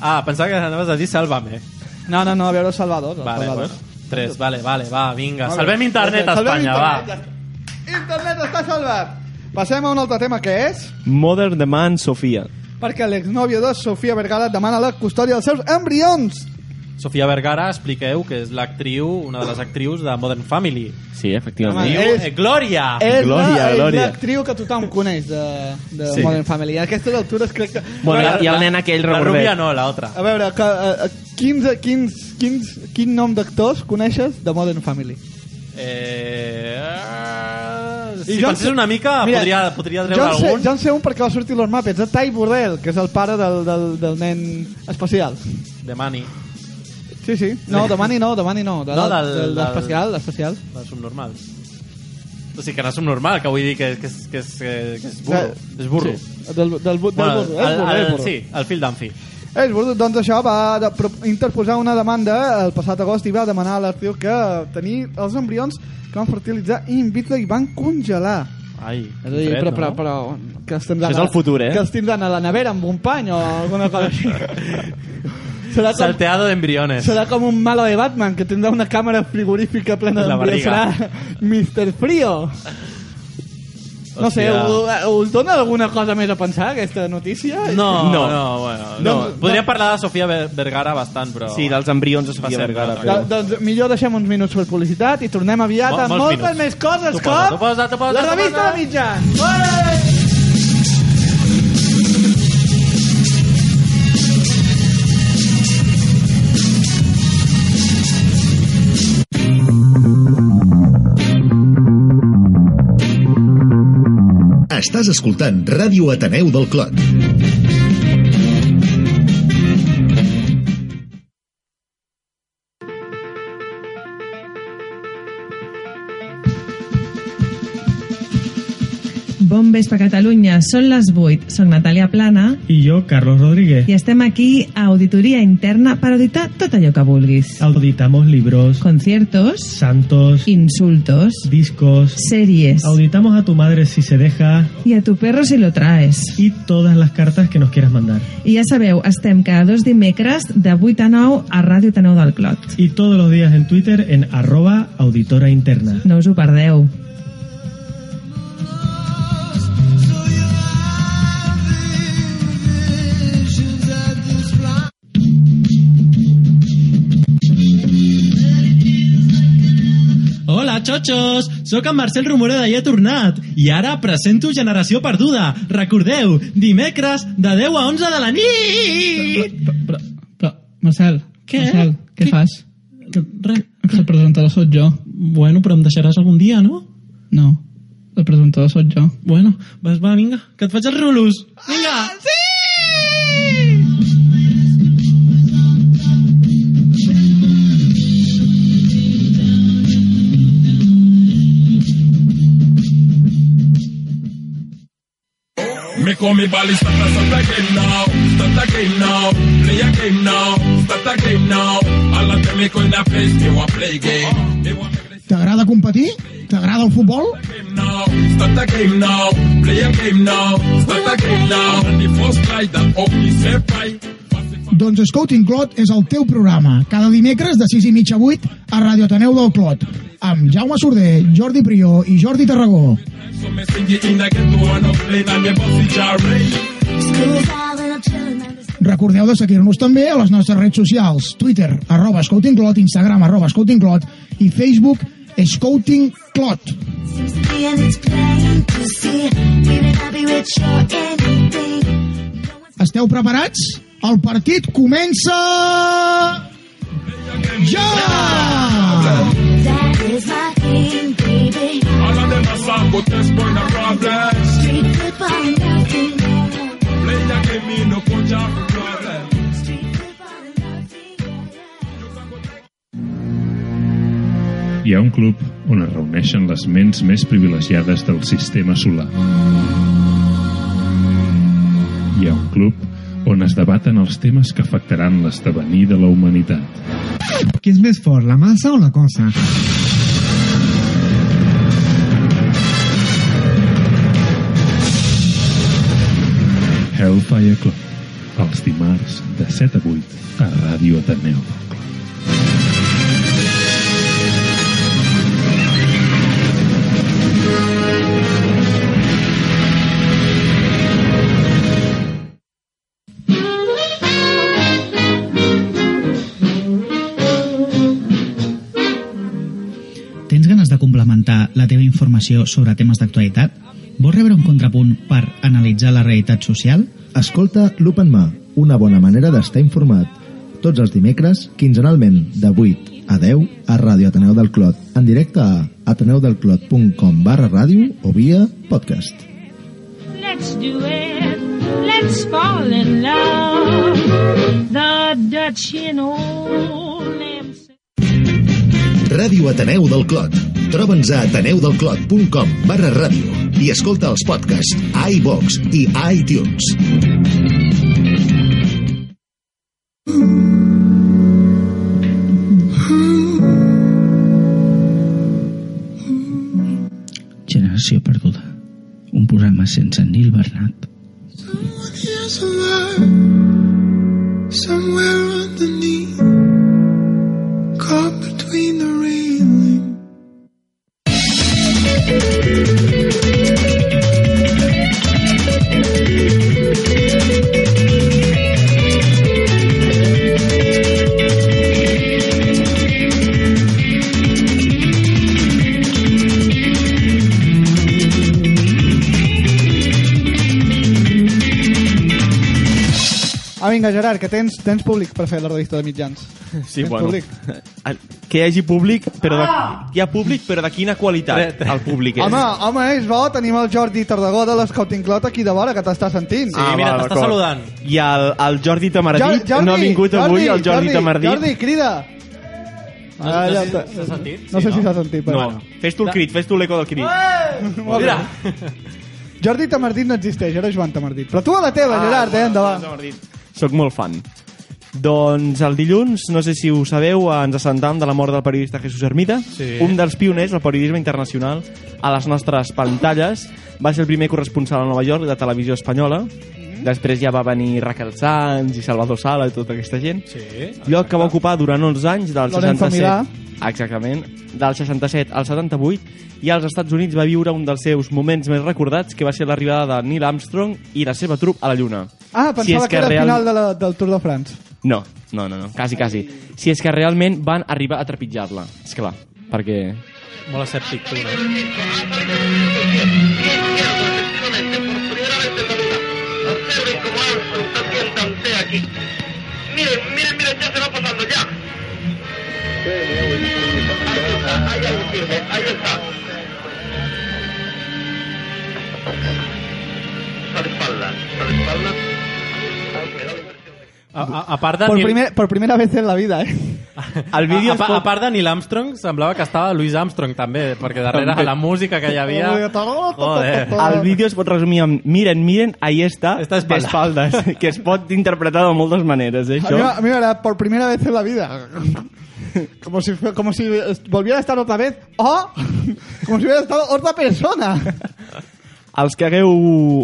[SPEAKER 2] Ah, pensava que anaves a dir sálvame.
[SPEAKER 1] No, no, no, a veure els Salvadors. Els
[SPEAKER 2] Vale,
[SPEAKER 1] salvadors.
[SPEAKER 2] bueno. Tres, vale, vale, va, vinga.
[SPEAKER 1] Molt bé.
[SPEAKER 2] Salvem internet a
[SPEAKER 1] Salvem
[SPEAKER 2] Espanya,
[SPEAKER 1] internet,
[SPEAKER 2] va.
[SPEAKER 1] ja està. Internet està salvat. Passem a un altre tema que és
[SPEAKER 3] Mother Demand Sofia.
[SPEAKER 1] perquè l'exnòvia de Sofia Vergara demana la custòdia dels seus embrions.
[SPEAKER 2] Sofia Vergara, expliqueu que és l'actriu, una de les actrius de Modern Family.
[SPEAKER 3] Sí,
[SPEAKER 1] Home,
[SPEAKER 3] efectivament.
[SPEAKER 2] Diu,
[SPEAKER 1] és-
[SPEAKER 2] eh, Glòria!
[SPEAKER 1] És
[SPEAKER 3] Glòria,
[SPEAKER 1] la- és
[SPEAKER 3] Glòria.
[SPEAKER 1] l'actriu que tothom coneix de, de
[SPEAKER 3] Sí.
[SPEAKER 1] sí. Modern Family. A aquestes altures crec que...
[SPEAKER 3] Bueno,
[SPEAKER 2] La-
[SPEAKER 3] i- i el
[SPEAKER 2] la-
[SPEAKER 3] nen aquell
[SPEAKER 2] La
[SPEAKER 3] regordet.
[SPEAKER 2] rubia no, l'altra.
[SPEAKER 1] A veure, que, eh, eh, quins, quins, quins, quin nom d'actors coneixes de Modern Family?
[SPEAKER 2] Eh...
[SPEAKER 1] I
[SPEAKER 2] Si
[SPEAKER 1] jo en
[SPEAKER 2] pensés
[SPEAKER 1] sé-
[SPEAKER 2] una mica,
[SPEAKER 1] Mira,
[SPEAKER 2] podria, podria treure
[SPEAKER 1] jo en sé,
[SPEAKER 2] algun.
[SPEAKER 1] Jo en sé un perquè va sortir Los Muppets, de Ty Burrell, que és el pare del, del, del nen especial.
[SPEAKER 2] De Mani,
[SPEAKER 1] Sí, sí. No, de Manny no, de Manny no. De,
[SPEAKER 2] No,
[SPEAKER 1] no,
[SPEAKER 2] del-
[SPEAKER 1] del, del,
[SPEAKER 2] del-
[SPEAKER 1] especial, l'especial.
[SPEAKER 2] de subnormal. O sigui, que no és subnormal, que vull dir que, que, és, que, és, eh, que és burro.
[SPEAKER 1] Sí.
[SPEAKER 2] És burro.
[SPEAKER 1] Del, del, del,
[SPEAKER 2] Bueno,
[SPEAKER 1] burro, és
[SPEAKER 2] el-
[SPEAKER 1] burro,
[SPEAKER 2] el-
[SPEAKER 1] és burro.
[SPEAKER 2] Sí, el fill d'Anfi.
[SPEAKER 1] És burro, doncs això va de, pro, interposar una demanda eh, el passat agost i va demanar a l'artiu que tenir els embrions que van fertilitzar in vitro i van congelar.
[SPEAKER 2] Ai,
[SPEAKER 1] És a dir,
[SPEAKER 2] fred,
[SPEAKER 1] però, però,
[SPEAKER 2] no?
[SPEAKER 1] però, que els tindran,
[SPEAKER 3] Això és el futur, eh?
[SPEAKER 1] Que els tindran a la nevera amb un pany o alguna cosa així. serà, com,
[SPEAKER 2] Salteado de embriones.
[SPEAKER 1] serà com un malo de Batman, que tindrà una càmera frigorífica plena
[SPEAKER 2] La
[SPEAKER 1] d'embrions.
[SPEAKER 2] barriga.
[SPEAKER 1] Serà Mr. Frio. No sé,
[SPEAKER 2] Hòstia.
[SPEAKER 1] u- us dona alguna cosa més a pensar, aquesta notícia?
[SPEAKER 2] No, no,
[SPEAKER 3] No.
[SPEAKER 2] no bueno. No.
[SPEAKER 1] No.
[SPEAKER 2] Podríem parlar de Sofia Ver- Vergara bastant, però...
[SPEAKER 3] Sí, dels embrions de Sofia
[SPEAKER 2] Passem,
[SPEAKER 3] Vergara.
[SPEAKER 2] no,
[SPEAKER 1] Do-
[SPEAKER 3] Però...
[SPEAKER 1] doncs millor deixem uns minuts per publicitat i tornem aviat
[SPEAKER 2] Mo-
[SPEAKER 1] amb
[SPEAKER 2] molts
[SPEAKER 1] moltes
[SPEAKER 2] minuts.
[SPEAKER 1] més coses
[SPEAKER 2] Tu
[SPEAKER 1] com
[SPEAKER 2] posa, tu posa, tu posa,
[SPEAKER 1] la
[SPEAKER 2] tu
[SPEAKER 1] revista
[SPEAKER 2] posa.
[SPEAKER 1] de mitjans. Ole!
[SPEAKER 7] Estàs escoltant Ràdio Ateneu del Clot.
[SPEAKER 8] Bon vespre, Catalunya. Són les 8. Soc Natàlia Plana
[SPEAKER 4] I jo, Carlos Rodríguez.
[SPEAKER 8] i estem aquí a Auditoria Interna per auditar tot allò que vulguis.
[SPEAKER 4] Auditamos libros,
[SPEAKER 8] Conciertos,
[SPEAKER 4] santos,
[SPEAKER 8] insultos,
[SPEAKER 4] discos.
[SPEAKER 8] series
[SPEAKER 4] Auditamos a tu madre si se deja
[SPEAKER 8] i a tu perro si lo traes.
[SPEAKER 4] y todas las cartas que nos quieras mandar.
[SPEAKER 8] I ja sabeu, estem cada dos dimecres de 8 a 9 a Ràdio Taneu del Clot.
[SPEAKER 4] Y todos los días en Twitter en arroba auditora interna.
[SPEAKER 8] No us ho perdeu.
[SPEAKER 4] Hola, xotxos! Soc en Marcel Rumoreda i he tornat. I ara presento Generació Perduda. Recordeu, dimecres de 10 a 11 de la nit!
[SPEAKER 9] Però, però, però Marcel,
[SPEAKER 4] Què?
[SPEAKER 9] Marcel, què,
[SPEAKER 4] Què?
[SPEAKER 9] fas?
[SPEAKER 4] Que res.
[SPEAKER 9] Que el presentador sóc jo.
[SPEAKER 4] Bueno, però em deixaràs algun dia, no?
[SPEAKER 9] No, el presentador sóc jo.
[SPEAKER 4] Bueno, vas, va, vinga, que et faig els rulos. Vinga! Ah, sí!
[SPEAKER 10] Me call me Bali, start the, start the game now, start the game now, play a game now, start the game now. All of them me in a place, they want play game. They want make this
[SPEAKER 9] T'agrada competir?
[SPEAKER 5] T'agrada el futbol?
[SPEAKER 11] now, start the game now, play a game now, start the game now. And the first guy that only said bye.
[SPEAKER 5] Doncs Scouting Clot és el teu programa, cada dimecres de 6 i mitja a 8 a Radio Ateneu del Clot, amb Jaume Sorder, Jordi Prió i Jordi Tarragó.
[SPEAKER 11] So me sing it in the ghetto and I'm playing and the bossy
[SPEAKER 5] Recordeu de seguir-nos també a les nostres redes socials, Twitter, arroba Scouting Clot, Instagram, arroba Scouting Clot i Facebook, Scouting Clot. Esteu preparats? El partit comença... Ja!
[SPEAKER 11] All of them are sad, but there's point of problems. Play a game, me no coach out for problem.
[SPEAKER 12] Hi ha un club on es reuneixen les ments més privilegiades del sistema solar. Hi ha un club on es debaten els temes que afectaran l'esdevenir de la humanitat.
[SPEAKER 13] Qui és més fort, la massa o la cosa?
[SPEAKER 12] Hellfire Club, els dimarts de 7 a 8 a Ràdio Ateneu.
[SPEAKER 14] Tens ganes de complementar la teva informació sobre temes d'actualitat? Vols rebre un contrapunt per analitzar la realitat social?
[SPEAKER 15] Escolta l'Open Ma, una bona manera d'estar informat. Tots els dimecres, quinzenalment, de 8 a 10 a Ràdio Ateneu del Clot, en directe a ateneudelclot.com barra ràdio o via podcast.
[SPEAKER 6] Let's do it. Let's fall in love. The Dutch in old lamps.
[SPEAKER 16] Ràdio Ateneu del Clot. Troba'ns a ateneudelclot.com barra ràdio i escolta els podcasts a iVox i a iTunes.
[SPEAKER 14] Generació perduda. Un programa sense Nil Bernat.
[SPEAKER 17] There's a light somewhere underneath, caught between the railing.
[SPEAKER 1] Ah, vinga, Gerard, que tens, tens públic per fer la revista de mitjans.
[SPEAKER 3] Sí,
[SPEAKER 1] tens
[SPEAKER 3] bueno.
[SPEAKER 1] Públic.
[SPEAKER 3] El- Ah, Que hi hagi públic, però de,
[SPEAKER 1] Ah!
[SPEAKER 3] hi ha públic, però de quina qualitat el públic és.
[SPEAKER 1] Home, home, és bo, tenim el Jordi Tardagó de l'Scouting Clot aquí de vora, que t'està sentint.
[SPEAKER 3] va, Ah, d'acord. I el, el Jordi Tamaradit,
[SPEAKER 1] Jo- Jordi,
[SPEAKER 3] no ha vingut
[SPEAKER 1] Jordi,
[SPEAKER 3] avui, el Jordi,
[SPEAKER 1] Jordi
[SPEAKER 3] Tamaradit.
[SPEAKER 1] Jordi, crida!
[SPEAKER 3] No- no sé si s'ha sentit,
[SPEAKER 1] Ah, No
[SPEAKER 3] sí,
[SPEAKER 1] sé si
[SPEAKER 3] no?
[SPEAKER 1] s'ha sentit, però...
[SPEAKER 3] No, fes tu el crit, fes tu l'eco del
[SPEAKER 1] Ah!
[SPEAKER 3] crit.
[SPEAKER 1] Molt bé. Jordi Tamardit no existeix, era Joan Tamardit. Però tu a la teva,
[SPEAKER 3] Ah,
[SPEAKER 1] Gerard, eh, endavant.
[SPEAKER 3] Soc molt fan. Doncs el dilluns, no sé si ho sabeu, ens assentam de la mort del periodista Jesús Hermida,
[SPEAKER 2] Sí.
[SPEAKER 3] un dels pioners del periodisme internacional a les nostres pantalles. Va ser el primer corresponsal a Nova York de televisió espanyola. Després ja va venir Raquel Sanz i Salvador Sala i tota aquesta gent.
[SPEAKER 2] Sí.
[SPEAKER 3] Lloc que va ocupar durant 11 anys, del
[SPEAKER 2] Lorenzo
[SPEAKER 3] 67...
[SPEAKER 2] Milà.
[SPEAKER 3] Exactament, del 67 al 78, i als Estats Units va viure un dels seus moments més recordats, que va ser l'arribada de Neil Armstrong i la seva trup a la Lluna.
[SPEAKER 1] Ah, pensava
[SPEAKER 3] és
[SPEAKER 1] que, era el final de la, del Tour de France.
[SPEAKER 3] No, no, no, no, quasi, quasi. Si és que realment van arribar a trepitjar-la, és clar, perquè...
[SPEAKER 2] Molt escèptic, tu, no?
[SPEAKER 17] Miren, miren, miren, ya se va pasando, ya. Ahí está, ahí algo firme, ahí está.
[SPEAKER 2] A, a, a part de
[SPEAKER 1] Por,
[SPEAKER 2] Neil-
[SPEAKER 1] primer, por primera vez en la vida, eh?
[SPEAKER 2] El
[SPEAKER 1] vídeo
[SPEAKER 2] a, a,
[SPEAKER 1] es pot-
[SPEAKER 2] a part de Neil Armstrong, semblava que estava Louis Armstrong també, perquè darrere la música que hi havia...
[SPEAKER 3] oh,
[SPEAKER 2] Joder.
[SPEAKER 3] El vídeo es pot resumir amb miren, miren, ahí està, està
[SPEAKER 2] espalda.
[SPEAKER 3] d'espaldes, que es pot interpretar de moltes maneres,
[SPEAKER 1] A
[SPEAKER 3] eh,
[SPEAKER 1] mi,
[SPEAKER 3] això.
[SPEAKER 1] a mi m'agrada, por primera vez en la vida. Como si, fue- como si volviera a estar otra vez. O como si hubiera estado otra persona.
[SPEAKER 3] Els que hagueu,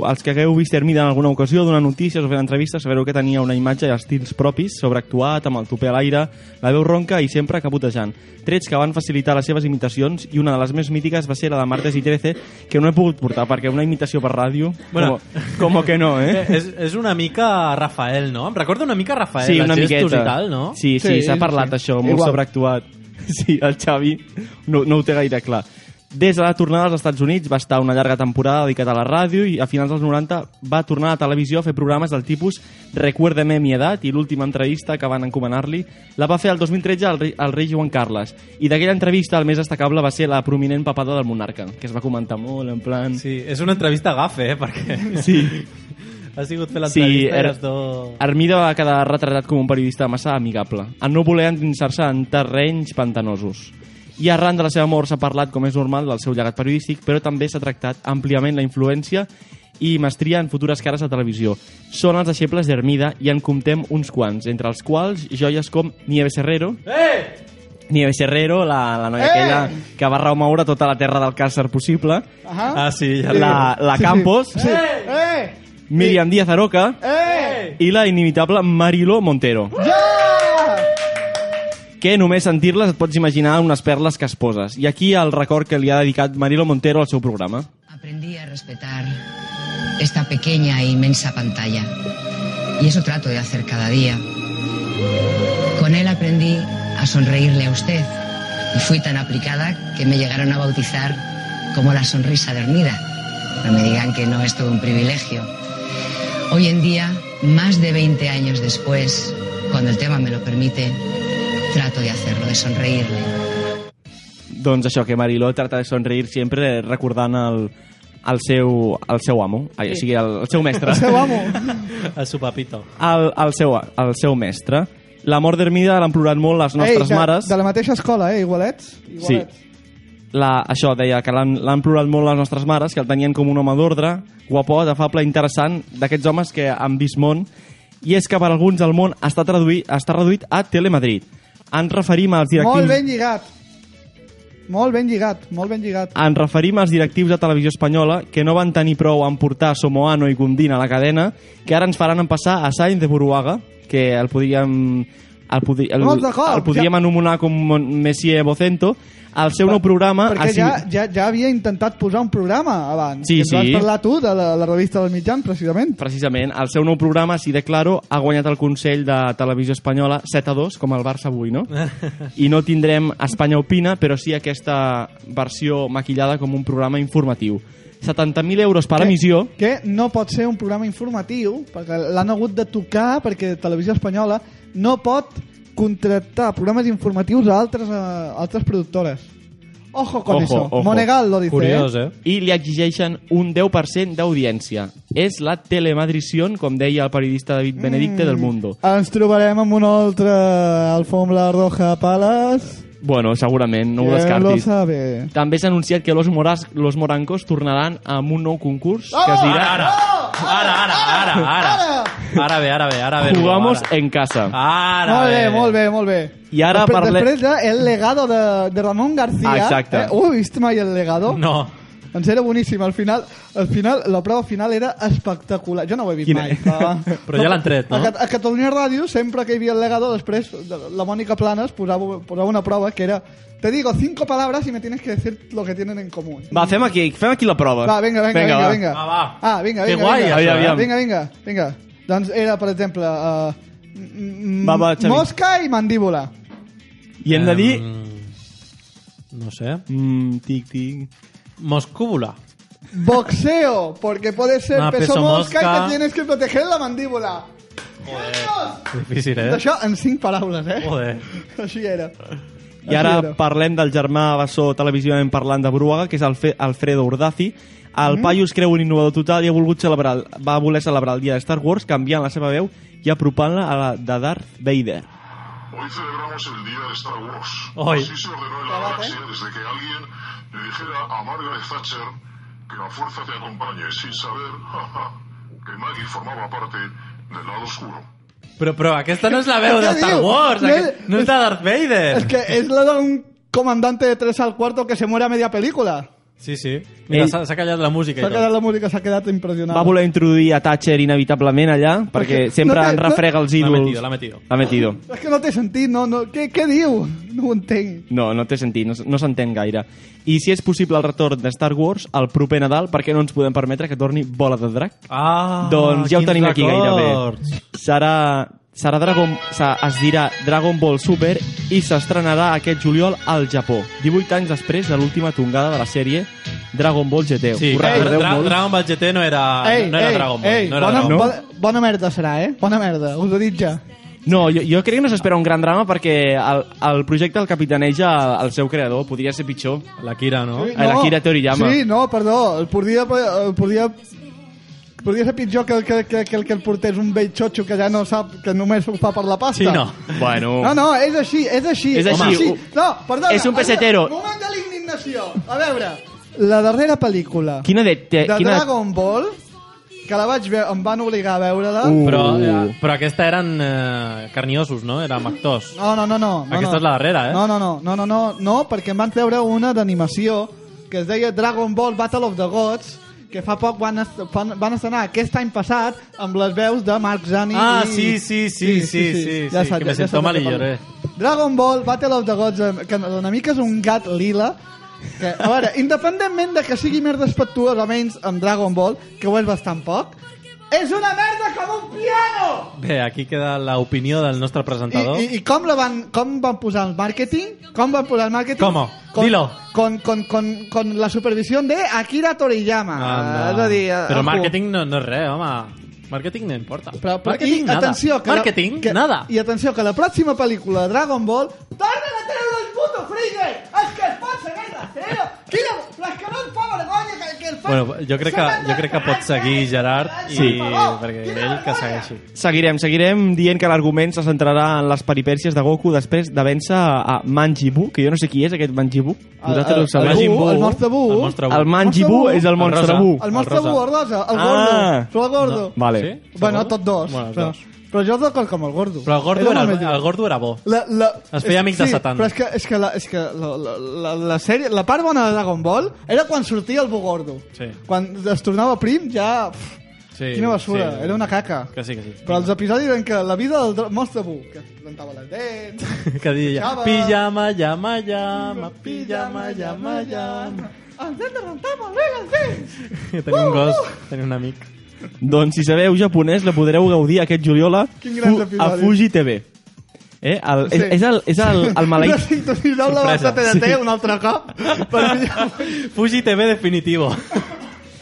[SPEAKER 3] els que hagueu vist Hermida en alguna ocasió, donant notícies o fent entrevistes, sabreu que tenia una imatge i estils propis, sobreactuat, amb el topé a l'aire, la veu ronca i sempre caputejant. Trets que van facilitar les seves imitacions i una de les més mítiques va ser la de Martes i 13, que no he pogut portar perquè una imitació per ràdio...
[SPEAKER 2] Bueno.
[SPEAKER 3] com, com que no, eh?
[SPEAKER 2] És, és una mica Rafael, no? Em recorda una mica Rafael,
[SPEAKER 3] sí, una
[SPEAKER 2] els gestos
[SPEAKER 3] miqueta.
[SPEAKER 2] i tal, no?
[SPEAKER 3] Sí, sí, s'ha parlat això, molt
[SPEAKER 2] Igual.
[SPEAKER 3] sobreactuat. Sí, el Xavi no, no ho té gaire clar. Des de la tornada als Estats Units va estar una llarga temporada dedicada a la ràdio i a finals dels 90 va tornar a la televisió a fer programes del tipus Recuérdeme mi edat i l'última entrevista que van encomanar-li la va fer el 2013 al rei, al rei Joan Carles i d'aquella entrevista el més destacable va ser la prominent papada del monarca que es va comentar molt en plan...
[SPEAKER 2] Sí, és una entrevista gafe, eh? Perquè...
[SPEAKER 3] Sí.
[SPEAKER 2] Ha sigut fer l'entrevista i
[SPEAKER 3] Her-
[SPEAKER 2] les dos...
[SPEAKER 3] Armida va quedar retratat com un periodista massa amigable, en no voler endinsar-se en terrenys pantanosos. I arran de la seva mort s'ha parlat, com és normal, del seu llegat periodístic, però també s'ha tractat àmpliament la influència i mestria en futures cares de televisió. Són els deixebles d'Hermida i en comptem uns quants, entre els quals joies com Nieves Herrero,
[SPEAKER 2] Eh!
[SPEAKER 3] Nieves Herrero, la, la
[SPEAKER 2] Eh!
[SPEAKER 3] noia eh! aquella que va remoure tota la terra del càncer possible,
[SPEAKER 1] Ahà.
[SPEAKER 2] Ah, sí, ja
[SPEAKER 3] la, la Campos,
[SPEAKER 1] Sí. ¡Eh!
[SPEAKER 3] Miriam Díaz Aroca,
[SPEAKER 1] ¡Eh!
[SPEAKER 3] i la inimitable Marilo Montero. Que només sentir-les et pots imaginar unes perles que es poses. I aquí el record que li ha dedicat Marilo Montero al seu programa.
[SPEAKER 18] Aprendí a respetar esta pequeña e inmensa pantalla. Y eso trato de hacer cada día. Con él aprendí a sonreírle a usted. Y fui tan aplicada que me llegaron a bautizar como la sonrisa de Hermida. No me digan que no es todo un privilegio. Hoy en día, más de 20 años después, cuando el tema me lo permite, trato de hacerlo, de sonreírle.
[SPEAKER 3] Doncs això, que Marilo trata de sonreir sempre recordant el, el, seu, el seu amo, ai, o sigui, el, el seu mestre.
[SPEAKER 2] El seu papito.
[SPEAKER 3] El, el, seu, el seu mestre. La mort d'Hermida l'han plorat molt les nostres
[SPEAKER 1] de,
[SPEAKER 3] mares.
[SPEAKER 1] De la mateixa escola, eh? Igualets.
[SPEAKER 3] Sí. La, això, deia que l'han l'han plorat molt les nostres mares, que el tenien com un home d'ordre, guapot, afable, interessant, d'aquests homes que han vist món, i és que per alguns el món està, traduït, està reduït a Telemadrid. Ens referim als
[SPEAKER 1] Molt
[SPEAKER 3] directius,
[SPEAKER 1] ben lligat. Molt ben lligat, molt ben lligat.
[SPEAKER 3] ens referim als directius de televisió espanyola que no van tenir prou en portar Somoano i Gundín a la cadena, que ara ens faran empassar a Sainz de Buruaga, que el podríem... El, podri, el,
[SPEAKER 1] Molt d'acord,
[SPEAKER 3] el podríem
[SPEAKER 1] ja.
[SPEAKER 3] anomenar com Mon- Messier Vocento, el seu nou programa...
[SPEAKER 1] Perquè
[SPEAKER 3] a Ci-
[SPEAKER 1] ja, ja, ja havia intentat posar un programa abans.
[SPEAKER 3] Sí,
[SPEAKER 1] que en
[SPEAKER 3] sí.
[SPEAKER 1] Vas parlar tu de la, la revista del mitjan, precisament.
[SPEAKER 3] Precisament, el seu nou programa, si de claro, ha guanyat el Consell de Televisió Espanyola 7 a 2, com el Barça avui, no? I no tindrem Espanya Opina, però sí aquesta versió maquillada com un programa informatiu. 70.000 euros per emissió.
[SPEAKER 1] Que no pot ser un programa informatiu, perquè l'han hagut de tocar perquè Televisió Espanyola no pot contractar programes informatius a altres, a altres productores. Ojo con eso. Monegal lo dice. eh?
[SPEAKER 3] I li exigeixen un 10% d'audiència. És la telemadrición, com deia el periodista David Benedicte del Mundo.
[SPEAKER 1] Ens trobarem amb una altra alfombra roja palas.
[SPEAKER 3] Bueno, segurament, no ho
[SPEAKER 1] ¿Quién lo
[SPEAKER 3] descartis.
[SPEAKER 1] sabe?
[SPEAKER 3] També s'ha anunciat que los, moras, los morancos tornaran amb un nou concurs que
[SPEAKER 2] Ah!
[SPEAKER 3] es dirà...
[SPEAKER 2] Ara, ara, ara, ara, ara. Ara ve, ara ve, ara Ah, ve.
[SPEAKER 3] Jugamos en casa.
[SPEAKER 2] Ara
[SPEAKER 1] Molt bé,
[SPEAKER 2] ve.
[SPEAKER 1] molt bé, molt bé.
[SPEAKER 3] I ara
[SPEAKER 1] Després-
[SPEAKER 3] parlem-
[SPEAKER 1] Després de El legado de, de Ramon García.
[SPEAKER 3] Exacte.
[SPEAKER 1] Eh? Ho heu vist mai, El legado?
[SPEAKER 2] No.
[SPEAKER 1] Ens era boníssim. Al final, al final, la prova final era espectacular. Jo no ho he vist
[SPEAKER 2] Quina-
[SPEAKER 1] mai. Però,
[SPEAKER 2] Però ja l'han tret, no?
[SPEAKER 1] A, Cat- a Catalunya Ràdio, sempre que hi havia El legado, després de- la Mònica Planes posava, posava una prova que era Te digo cinco palabras y me tienes que decir lo que tienen en común.
[SPEAKER 3] Va, fem aquí, fem aquí la prova.
[SPEAKER 1] Va, vinga, vinga, vinga.
[SPEAKER 3] va.
[SPEAKER 1] vinga. Ah, vinga,
[SPEAKER 3] Que
[SPEAKER 1] vinga.
[SPEAKER 3] guai,
[SPEAKER 1] vinga.
[SPEAKER 3] això, aviam.
[SPEAKER 1] Vinga, vinga, vinga. Doncs era, per exemple, eh, m- m-
[SPEAKER 3] Va, va, Xavi.
[SPEAKER 1] mosca i mandíbula.
[SPEAKER 3] I hem de dir...
[SPEAKER 2] Em- No sé.
[SPEAKER 3] Mm, tic, tic.
[SPEAKER 2] Moscúbula.
[SPEAKER 1] Boxeo, porque puede ser
[SPEAKER 2] Ah,
[SPEAKER 1] peso,
[SPEAKER 2] peso
[SPEAKER 1] mosca,
[SPEAKER 2] mosca.
[SPEAKER 1] y te tienes que proteger la mandíbula.
[SPEAKER 2] Difícil,
[SPEAKER 1] Eh?
[SPEAKER 2] eh?
[SPEAKER 1] Això en cinc paraules, eh?
[SPEAKER 2] Joder.
[SPEAKER 1] Així era.
[SPEAKER 3] I ara parlem del germà Bassó televisivament parlant de Bruaga, que és el Fe Alfredo Urdaci. El
[SPEAKER 1] Mhm.
[SPEAKER 3] paio es creu un innovador total i ha volgut celebrar, el- va voler celebrar el dia de Star Wars canviant la seva veu i apropant-la a la de Darth Vader.
[SPEAKER 12] Hoy celebramos el día de Star Wars.
[SPEAKER 3] Hoy.
[SPEAKER 12] Así se ordenó en la galaxia desde que alguien le dijera a Margaret Thatcher que la fuerza te acompañe sin saber que Maggie formaba parte del lado oscuro.
[SPEAKER 2] Però, però aquesta no és la veu de
[SPEAKER 1] Què
[SPEAKER 2] Star
[SPEAKER 1] diu?
[SPEAKER 2] Wars,
[SPEAKER 1] No
[SPEAKER 2] aquest, no és de Darth Vader.
[SPEAKER 1] Es que es la de un comandante de 3 al cuarto que se muere a media película.
[SPEAKER 2] Sí, sí. Mira,
[SPEAKER 3] Ell-
[SPEAKER 2] s'ha s'ha callat la música
[SPEAKER 1] Se ha
[SPEAKER 2] i tot.
[SPEAKER 1] quedat la música, se ha quedat impressionada.
[SPEAKER 3] Va voler introduir a Thatcher inevitablement allà, perquè
[SPEAKER 1] Perquè-
[SPEAKER 3] sempre
[SPEAKER 1] no té-
[SPEAKER 3] en refrega els
[SPEAKER 2] L'ha
[SPEAKER 3] ídols.
[SPEAKER 2] metido, l'ha metido.
[SPEAKER 3] L'ha metido.
[SPEAKER 1] És que no té sentit, no, no. Què, què diu? No ho entenc.
[SPEAKER 3] No, no té sentit, no, s- no s'entén gaire. I si és possible el retorn de Star Wars al proper Nadal, per què no ens podem permetre que torni Bola de Drac?
[SPEAKER 2] Ah,
[SPEAKER 3] doncs ja ho
[SPEAKER 2] quins
[SPEAKER 3] tenim aquí
[SPEAKER 2] records.
[SPEAKER 3] gairebé. Serà, serà Dragon, se, es dirà Dragon Ball Super i s'estrenarà aquest juliol al Japó, 18 anys després de l'última tongada de la sèrie Dragon Ball GT.
[SPEAKER 2] Sí,
[SPEAKER 3] Ho
[SPEAKER 2] Dra
[SPEAKER 3] recordeu
[SPEAKER 2] Dra
[SPEAKER 3] molt?
[SPEAKER 2] Dragon Ball GT no era, Ah, no era Dragon Ball.
[SPEAKER 1] ei,
[SPEAKER 2] no era
[SPEAKER 1] bona,
[SPEAKER 2] Dragon Ball.
[SPEAKER 1] bona, bona merda serà, eh? Bona merda, us ho dic ja.
[SPEAKER 3] No, jo, jo crec que no s'espera un gran drama perquè el, el projecte el capitaneja el, el seu creador, podria ser pitjor.
[SPEAKER 2] La Kira, no?
[SPEAKER 1] Sí,
[SPEAKER 3] La Kira Toriyama.
[SPEAKER 1] Sí, no, perdó, el podria, el podria, podria ser pitjor que, el que, que, que el que el portés un vell xotxo que ja no sap, que només ho fa per la pasta.
[SPEAKER 3] Bueno...
[SPEAKER 1] No, no, és així, és així.
[SPEAKER 3] És així,
[SPEAKER 1] Sí.
[SPEAKER 3] ho-
[SPEAKER 1] No, perdona.
[SPEAKER 3] és un
[SPEAKER 1] a veure,
[SPEAKER 3] pesetero.
[SPEAKER 1] Moment de l'indignació. A veure, la darrera pel·lícula
[SPEAKER 3] Quina de...
[SPEAKER 1] de
[SPEAKER 3] Te, quina
[SPEAKER 1] Dragon Ball, que la vaig veure, em van obligar a veure-la.
[SPEAKER 2] Però, eh, però aquesta eren eh, carniosos, no? Érem actors.
[SPEAKER 1] No, no, no, no. no
[SPEAKER 2] Aquesta
[SPEAKER 1] no.
[SPEAKER 2] és la darrera, eh?
[SPEAKER 1] No, no, no, no, no, no, no, perquè em van treure una d'animació que es deia Dragon Ball Battle of the Gods, que fa poc van, est fan- van estrenar aquest any passat amb les veus de Mark Zani
[SPEAKER 2] Ah,
[SPEAKER 1] i...
[SPEAKER 2] sí, sí, sí, sí, sí, sí,
[SPEAKER 1] ja
[SPEAKER 2] sí,
[SPEAKER 1] saps,
[SPEAKER 2] que me
[SPEAKER 1] ja
[SPEAKER 2] sento eh.
[SPEAKER 1] saps
[SPEAKER 2] mal
[SPEAKER 1] de
[SPEAKER 2] i
[SPEAKER 1] què
[SPEAKER 2] lloré.
[SPEAKER 1] parlo. Dragon Ball Battle of the Gods, eh, que una mica és un gat lila, que, a veure, independentment de que sigui més respectuós o menys amb Dragon Ball, que ho és bastant poc, és una merda com un piano!
[SPEAKER 2] Bé, aquí queda l'opinió del nostre presentador.
[SPEAKER 1] I, i, i com, la van, com van posar el màrqueting? Com van posar el màrqueting?
[SPEAKER 2] ¿Cómo? Dilo.
[SPEAKER 1] Con, con, con, con la supervisión de Akira Toriyama.
[SPEAKER 2] Anda.
[SPEAKER 1] És a dir, eh,
[SPEAKER 2] Però
[SPEAKER 1] ojo.
[SPEAKER 2] màrqueting no, no és res, home. Màrqueting no importa.
[SPEAKER 1] Però, però,
[SPEAKER 2] màrqueting,
[SPEAKER 1] i,
[SPEAKER 2] nada.
[SPEAKER 1] atenció, que
[SPEAKER 2] màrqueting,
[SPEAKER 1] la, que,
[SPEAKER 2] nada.
[SPEAKER 1] I atenció, que la pròxima pel·lícula de Dragon Ball tornen a treure el puto Freezer! És que es pot seguir rastrero! Quina... Però és que no em fa vergonya que, que el fan...
[SPEAKER 2] Bueno, jo crec que, jo crec que pot seguir Gerard i
[SPEAKER 3] Sí.
[SPEAKER 2] perquè ell que segueixi.
[SPEAKER 3] Seguirem, seguirem dient que l'argument se centrarà en les peripècies de Goku després de vèncer a Manjibu, que jo no sé qui és aquest Manjibu. Vosaltres
[SPEAKER 1] el,
[SPEAKER 3] ho sabeu.
[SPEAKER 1] el, Bu, el monstre Bu.
[SPEAKER 3] El monstre Bu. El Manjibu és el monstre Bu.
[SPEAKER 2] Uh,
[SPEAKER 1] El monstre Bu, el rosa, el gordo.
[SPEAKER 3] Ah.
[SPEAKER 1] Però el gordo.
[SPEAKER 3] No. Vale.
[SPEAKER 1] Sí? Bueno, tots dos.
[SPEAKER 2] Bueno, els
[SPEAKER 1] però,
[SPEAKER 2] dos.
[SPEAKER 1] però jo d'acord com el gordo.
[SPEAKER 2] Però el gordo, era,
[SPEAKER 1] molt més
[SPEAKER 2] el, el gordo era bo.
[SPEAKER 1] La, la,
[SPEAKER 2] Es feia amic de
[SPEAKER 1] sí,
[SPEAKER 2] Satan.
[SPEAKER 1] Però és que, és que, la, és que la, la, la, la, sèrie, la part bona de Dragon Ball era quan sortia el Bogordo.
[SPEAKER 2] Sí.
[SPEAKER 1] Quan es tornava prim, ja... Pff,
[SPEAKER 2] Sí,
[SPEAKER 1] quina basura,
[SPEAKER 2] sí.
[SPEAKER 1] era una caca.
[SPEAKER 2] Que sí, que sí.
[SPEAKER 1] Però els episodis en què la vida del dra- monstre Bu, que es plantava les dents...
[SPEAKER 2] Que deia ja,
[SPEAKER 1] Xava.
[SPEAKER 2] pijama, llama, llama.
[SPEAKER 1] Pijama, llama, llama... Ens hem de rentar molt bé les dents!
[SPEAKER 2] Tenia un gos,
[SPEAKER 1] Uh!
[SPEAKER 2] tenia un amic.
[SPEAKER 3] Doncs si sabeu japonès, la podreu gaudir aquest juliol a,
[SPEAKER 1] Quin gran
[SPEAKER 3] Fu- a
[SPEAKER 1] episodi.
[SPEAKER 3] Fuji TV. Eh? El, és, és el, és el, el
[SPEAKER 1] Una
[SPEAKER 3] maleït...
[SPEAKER 1] sintonitzau la
[SPEAKER 3] Sorpresa.
[SPEAKER 1] bastata de té
[SPEAKER 3] Sí.
[SPEAKER 1] un altre cop.
[SPEAKER 2] Fuji TV definitivo.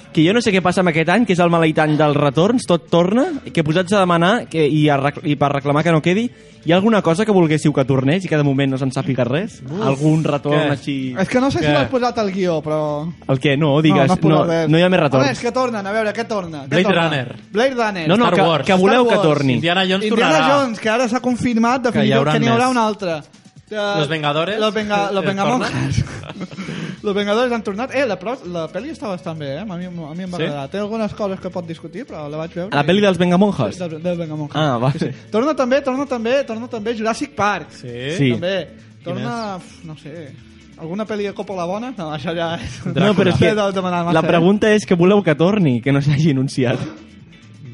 [SPEAKER 3] que jo no sé què passa amb aquest any, que és el maleït any dels retorns, tot torna, que posats a demanar que, i, a rec- i per reclamar que no quedi, hi ha alguna cosa que volguéssiu que tornés i que de moment no se'n sàpiga res? Algun retorn
[SPEAKER 1] Què?
[SPEAKER 3] així...
[SPEAKER 1] És que no sé si
[SPEAKER 3] Què?
[SPEAKER 1] m'has posat el guió, però...
[SPEAKER 3] El què? No,
[SPEAKER 1] No,
[SPEAKER 3] digues,
[SPEAKER 1] no has
[SPEAKER 3] no,
[SPEAKER 1] posat
[SPEAKER 3] no,
[SPEAKER 1] res.
[SPEAKER 3] hi ha més
[SPEAKER 1] A veure, és
[SPEAKER 3] retorns.
[SPEAKER 1] que tornen, a veure, què torna? Què
[SPEAKER 3] Blade
[SPEAKER 1] torna?
[SPEAKER 3] Runner.
[SPEAKER 1] Blade Runner.
[SPEAKER 3] No, no,
[SPEAKER 1] Star
[SPEAKER 3] que-
[SPEAKER 1] Wars.
[SPEAKER 3] que voleu
[SPEAKER 1] Star
[SPEAKER 3] que
[SPEAKER 1] Wars.
[SPEAKER 3] torni. Indiana Jones
[SPEAKER 1] Indiana
[SPEAKER 3] tornarà.
[SPEAKER 1] Jones, que ara s'ha confirmat
[SPEAKER 3] hi
[SPEAKER 1] definitivament
[SPEAKER 3] haurà
[SPEAKER 1] que n'hi haurà
[SPEAKER 3] més.
[SPEAKER 1] una altra. Que-
[SPEAKER 2] Los Vengadores?
[SPEAKER 1] Los, venga, los
[SPEAKER 2] Eh,
[SPEAKER 1] Vengamonjas. los Vengadores han tornat. Eh, la, pro, la pel·li està bastant bé, eh? A mi, a mi em va
[SPEAKER 3] Sí?
[SPEAKER 1] agradar. Té algunes coses que pot discutir, però la vaig veure.
[SPEAKER 3] La pel·li dels Vengamonjas?
[SPEAKER 1] Del, del Vengamonjas.
[SPEAKER 3] Ah, vale.
[SPEAKER 1] Torna també, torna també, torna també Jurassic Park. Sí.
[SPEAKER 3] Sí.
[SPEAKER 1] També. Torna, uf, no sé, alguna pel·li de Coppola bona? No, això ja és...
[SPEAKER 3] No, però és que
[SPEAKER 1] He de demanar massa, eh?
[SPEAKER 3] la pregunta és que voleu que torni, que no s'hagi anunciat.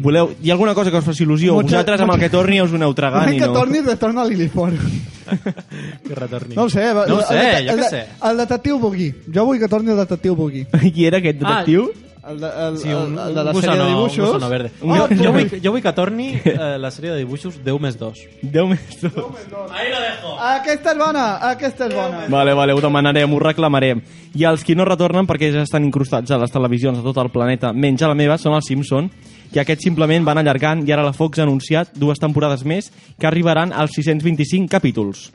[SPEAKER 3] Voleu... Hi ha alguna cosa que us faci il·lusió?
[SPEAKER 1] Mucha-
[SPEAKER 3] Vosaltres amb el
[SPEAKER 1] mucha-
[SPEAKER 3] que torni us aneu
[SPEAKER 1] Eh?
[SPEAKER 3] tragant
[SPEAKER 1] Moment
[SPEAKER 3] i
[SPEAKER 1] que
[SPEAKER 3] no...
[SPEAKER 1] torni, retorna a l'Ilifon.
[SPEAKER 2] Que retorni.
[SPEAKER 1] No ho sé. va-
[SPEAKER 2] No ho
[SPEAKER 1] el-
[SPEAKER 2] sé,
[SPEAKER 1] el,
[SPEAKER 2] jo
[SPEAKER 1] el-
[SPEAKER 2] què sé.
[SPEAKER 1] El detectiu Bugui. Jo vull que torni el detectiu Bugui.
[SPEAKER 3] Qui era aquest detectiu?
[SPEAKER 1] El, de, el,
[SPEAKER 2] Sí,
[SPEAKER 1] el,
[SPEAKER 2] un,
[SPEAKER 1] el de la
[SPEAKER 2] un
[SPEAKER 1] sèrie de
[SPEAKER 2] gusano- un
[SPEAKER 1] dibuixos.
[SPEAKER 2] gusano verde.
[SPEAKER 1] Oh,
[SPEAKER 2] jo, jo,
[SPEAKER 1] tu-
[SPEAKER 2] vull, jo vull que torni eh, la sèrie de dibuixos 10 més 2.
[SPEAKER 3] 10 més 2.
[SPEAKER 1] Aquesta és bona, aquesta és bona.
[SPEAKER 3] Vale, vale, ho demanarem, ho reclamarem. I els qui no retornen perquè ja estan incrustats a les televisions de tot el planeta, menys a la meva, són els Simpson, i aquests simplement van allargant i ara la Fox ha anunciat dues temporades més que arribaran als 625 capítols.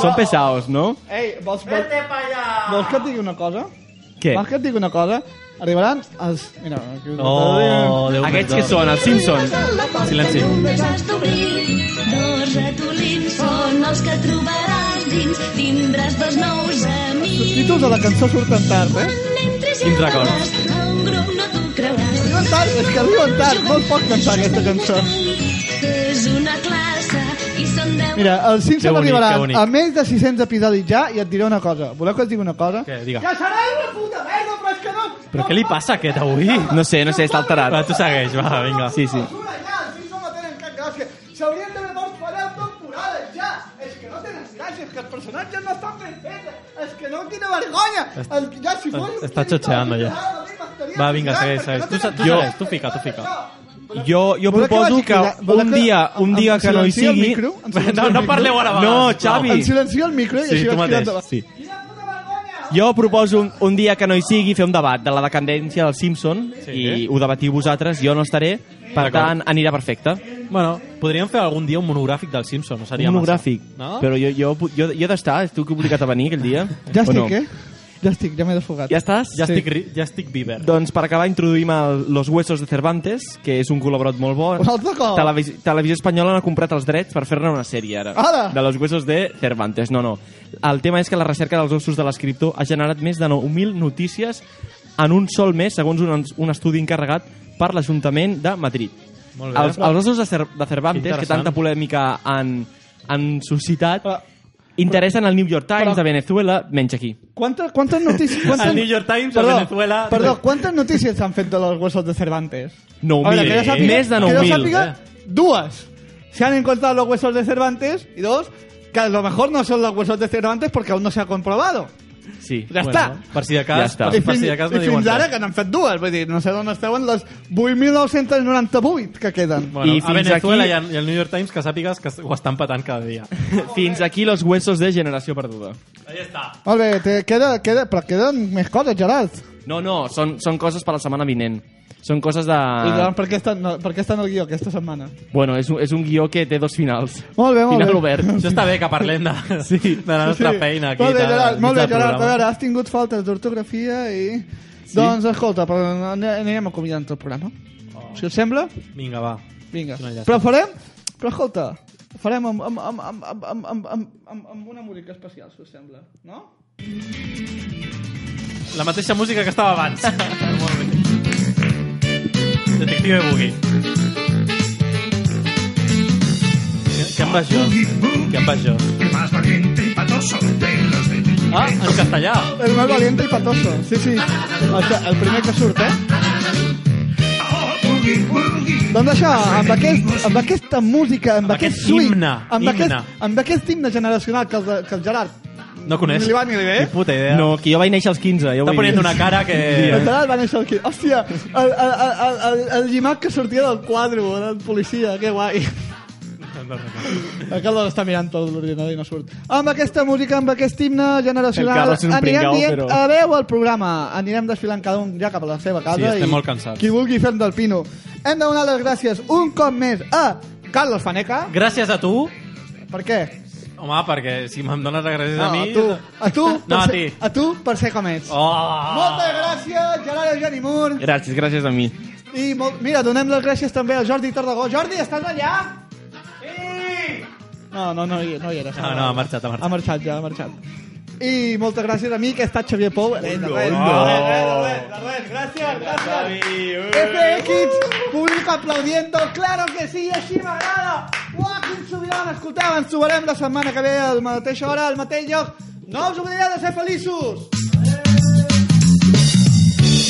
[SPEAKER 3] Són pesaos, no?
[SPEAKER 1] Ei, vols, vols, vols que et digui una cosa?
[SPEAKER 3] Què?
[SPEAKER 1] Vols que et digui una cosa? Arribaran els... Mira, aquí us
[SPEAKER 3] Oh, Déu Aquests que són, els Simpsons.
[SPEAKER 2] Silenci.
[SPEAKER 19] Un desast d'obrir, dos ratolins són els que trobaràs dins. Tindràs dos nous amics.
[SPEAKER 1] Els títols de la cançó surten tard, eh?
[SPEAKER 19] Entres
[SPEAKER 1] Quins records?
[SPEAKER 19] records? A un grup no t'ho creuràs.
[SPEAKER 1] Arriben tard, és que arriben tard. Molt poc cantar aquesta cançó.
[SPEAKER 19] és una classe i són deu...
[SPEAKER 1] Mira, els Simpson
[SPEAKER 19] bonic, que
[SPEAKER 1] arribaran
[SPEAKER 19] bonic.
[SPEAKER 1] a més de 600 episodis ja i et diré una cosa. Voleu que us digui una cosa?
[SPEAKER 2] Què? Digue.
[SPEAKER 1] Ja serà una puta merda, però és que no...
[SPEAKER 2] Però què li passa a aquest avui? No sé, no sé, està alterat. Va, tu segueix, va, vinga. Sí, sí.
[SPEAKER 1] S'haurien d'haver mort fa 10 temporades, ja! És que no tenen gràcia, és que els personatges no estan ben fets, és que no tiene vergonya! El, ja, si fos...
[SPEAKER 2] Està xotxeando ja. Va, vinga, segueix, segueix. Tu, se- tu,
[SPEAKER 3] Jo-
[SPEAKER 2] segueix, tu fica, tu fica.
[SPEAKER 3] Jo,
[SPEAKER 2] Voleu
[SPEAKER 3] jo
[SPEAKER 2] que
[SPEAKER 3] proposo
[SPEAKER 2] vagi
[SPEAKER 3] que
[SPEAKER 2] cridant? Voleu
[SPEAKER 3] un
[SPEAKER 2] que-
[SPEAKER 3] dia, un
[SPEAKER 2] em
[SPEAKER 3] dia que no hi
[SPEAKER 1] silencio el
[SPEAKER 3] sigui...
[SPEAKER 1] micro? Em silencio
[SPEAKER 2] No,
[SPEAKER 1] el
[SPEAKER 2] no
[SPEAKER 1] micro?
[SPEAKER 2] parleu ara, va,
[SPEAKER 3] No,
[SPEAKER 2] va.
[SPEAKER 3] Xavi.
[SPEAKER 1] Em silencio el micro i
[SPEAKER 3] Sí,
[SPEAKER 1] així
[SPEAKER 3] tu
[SPEAKER 1] vaig
[SPEAKER 3] mateix,
[SPEAKER 1] tirant
[SPEAKER 3] sí. Jo proposo un, un dia que no hi sigui fer un debat de la decadència del Simpson i ho debatiu vosaltres, jo no estaré, per
[SPEAKER 2] D'acord.
[SPEAKER 3] tant anirà perfecte.
[SPEAKER 2] Bueno, podríem fer algun dia un monogràfic del Simpson, no seria
[SPEAKER 3] un monogràfic,
[SPEAKER 2] massa. No?
[SPEAKER 3] però jo, jo, pu- jo, jo he d'estar, tu que obligat a venir aquell dia.
[SPEAKER 1] Ja
[SPEAKER 3] o
[SPEAKER 1] estic,
[SPEAKER 3] no?
[SPEAKER 1] eh? Ja estic, ja m'he desfogat.
[SPEAKER 3] Ja estàs?
[SPEAKER 1] Ja estic
[SPEAKER 2] ri- ja estic Bieber.
[SPEAKER 3] Doncs per acabar introduïm el Los Huesos de Cervantes, que és un col·laborat molt bo.
[SPEAKER 1] Un altre cop?
[SPEAKER 3] Televis Televisió Espanyola n'ha comprat els drets per fer-ne una sèrie ara.
[SPEAKER 1] Ara!
[SPEAKER 3] De Los Huesos de Cervantes. No, no. El tema és que la recerca dels ossos de l'escriptor ha generat més de 9.000 notícies en un sol mes, segons un, un estudi encarregat per l'Ajuntament de Madrid.
[SPEAKER 2] Molt bé.
[SPEAKER 3] Els, els ossos de, Cer de Cervantes, que
[SPEAKER 2] Interessant.
[SPEAKER 3] tanta polèmica han, han suscitat, interessen al New York Times, a Venezuela, menys aquí.
[SPEAKER 1] Quantes, quantes notícies... Quantes...
[SPEAKER 3] Al New York Times, a
[SPEAKER 1] perdó,
[SPEAKER 3] Venezuela.
[SPEAKER 1] Perdó, quantes notícies s'han fet de los huesos de Cervantes?
[SPEAKER 3] 9.000.
[SPEAKER 1] A veure, que jo sàpiga-
[SPEAKER 3] Més de
[SPEAKER 1] Que
[SPEAKER 3] 9.000,
[SPEAKER 1] yo sàpiga,
[SPEAKER 3] eh.
[SPEAKER 1] dues. Se han encontrado los huesos de Cervantes y dos, que a lo mejor no son los huesos de Cervantes porque aún no se ha comprobado.
[SPEAKER 3] Sí.
[SPEAKER 1] Ja està.
[SPEAKER 2] Per si de cas,
[SPEAKER 3] Ja està.
[SPEAKER 1] I
[SPEAKER 2] per si de cas no
[SPEAKER 1] i
[SPEAKER 2] diuen
[SPEAKER 1] fins
[SPEAKER 2] res.
[SPEAKER 1] ara que n'han fet dues, vull dir, no sé d'on estaven les 8.998 que queden.
[SPEAKER 2] Bueno, I a Venezuela
[SPEAKER 3] aquí-
[SPEAKER 2] aquí... i al New York Times que sàpigues que ho estan patant cada dia.
[SPEAKER 3] Fins aquí los huesos de Generació Perduda.
[SPEAKER 1] Molt bé, te queda, queda, però queden més coses, Gerard.
[SPEAKER 3] No, no, són, són coses per la setmana vinent. Són coses de...
[SPEAKER 1] Ui, doncs, per, què està, no, per què està en el guió aquesta setmana?
[SPEAKER 3] Bueno, és un, és un guió que té dos finals.
[SPEAKER 1] Molt bé, molt
[SPEAKER 3] Final
[SPEAKER 1] bé.
[SPEAKER 3] obert.
[SPEAKER 2] Això està bé que parlem de, sí. de la nostra feina aquí.
[SPEAKER 1] molt bé,
[SPEAKER 2] tal,
[SPEAKER 1] Gerard,
[SPEAKER 2] al
[SPEAKER 1] molt bé,
[SPEAKER 2] mig del
[SPEAKER 1] Gerard. A
[SPEAKER 2] programa.
[SPEAKER 1] veure, has tingut faltes d'ortografia i...
[SPEAKER 2] Sí?
[SPEAKER 1] Doncs escolta, però ane- anirem acomiadant el programa.
[SPEAKER 2] Oh.
[SPEAKER 1] Si us sembla,
[SPEAKER 2] Vinga, va.
[SPEAKER 1] vinga.
[SPEAKER 2] És una llàstima.
[SPEAKER 1] Però farem... Però escolta, farem amb, amb, amb, amb, amb, amb, amb, amb, amb, amb una música especial, si us sembla, no?
[SPEAKER 2] La mateixa música que estava abans. Molt bé. Detective Boogie. Què què em va això? Què em va això?
[SPEAKER 20] más valiente y patoso de los de
[SPEAKER 2] Ah, en castellà.
[SPEAKER 1] El més valiente i patoso, sí, sí. El, que- el primer que surt, eh? Doncs això, amb, aquest, amb aquesta música, amb, aquest,
[SPEAKER 2] aquest
[SPEAKER 1] swing,
[SPEAKER 2] himne,
[SPEAKER 1] amb,
[SPEAKER 2] himne.
[SPEAKER 1] Aquest, amb aquest himne generacional que el, que el Gerard
[SPEAKER 2] No coneix.
[SPEAKER 1] Ni li va ni li ve.
[SPEAKER 2] Ni puta idea.
[SPEAKER 3] No, que jo vaig néixer als 15.
[SPEAKER 2] Està
[SPEAKER 3] Jo vull
[SPEAKER 2] ponent
[SPEAKER 3] dir.
[SPEAKER 2] una cara que...
[SPEAKER 1] El Gerard va néixer aquí. Hòstia, el, el, el, el, el, el llimac que sortia del quadro, del policia, que guai. El Carlos està mirant tot l'ordinador i no surt. Amb aquesta música, amb aquest himne
[SPEAKER 2] El
[SPEAKER 1] generacional,
[SPEAKER 2] Carlos és un
[SPEAKER 1] anirem
[SPEAKER 2] pringau,
[SPEAKER 1] dient
[SPEAKER 2] però-
[SPEAKER 1] adeu al programa. Anirem desfilant cada un ja cap a la seva casa.
[SPEAKER 2] Sí, estem
[SPEAKER 1] i
[SPEAKER 2] molt cansats.
[SPEAKER 1] Qui vulgui fer del Pino. Hem de donar les gràcies un cop més a Carlos Faneca.
[SPEAKER 2] Gràcies a tu.
[SPEAKER 1] Per què?
[SPEAKER 2] Home, perquè si me'n dones les gràcies a
[SPEAKER 1] No,
[SPEAKER 2] mi...
[SPEAKER 1] a tu, a tu, per
[SPEAKER 2] No, a
[SPEAKER 1] ser,
[SPEAKER 2] ti.
[SPEAKER 1] a tu per ser com ets.
[SPEAKER 2] Oh.
[SPEAKER 1] Moltes gràcies, Gerard Eugeni Mur.
[SPEAKER 3] Gràcies, gràcies a mi.
[SPEAKER 1] I molt... mira, donem les gràcies també a Jordi Tarragó. Jordi, estàs allà? Sí! No, no, no, hi- no hi era.
[SPEAKER 2] No, no, ha marxat, ha marxat.
[SPEAKER 1] Ha marxat ja, ha marxat. I moltes gràcies a mi, que he estat Xavier Pou. Ole, de res,
[SPEAKER 2] hola.
[SPEAKER 1] de res, de res, de res. Gràcies, gràcies. FX, públic aplaudiendo, claro que sí, així m'agrada. Uah, quin sobirant, escolteu, ens trobarem la setmana que ve a la mateixa hora, al mateix lloc. No us oblideu de ser feliços!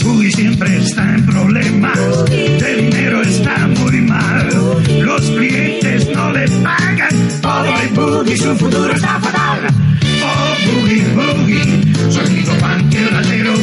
[SPEAKER 20] Boogie siempre está en problemas, de dinero está muy mal, los clientes no le pagan, pobre Boogie, su futuro está fatal. Oh, Boogie, Boogie, sonido panqueratero,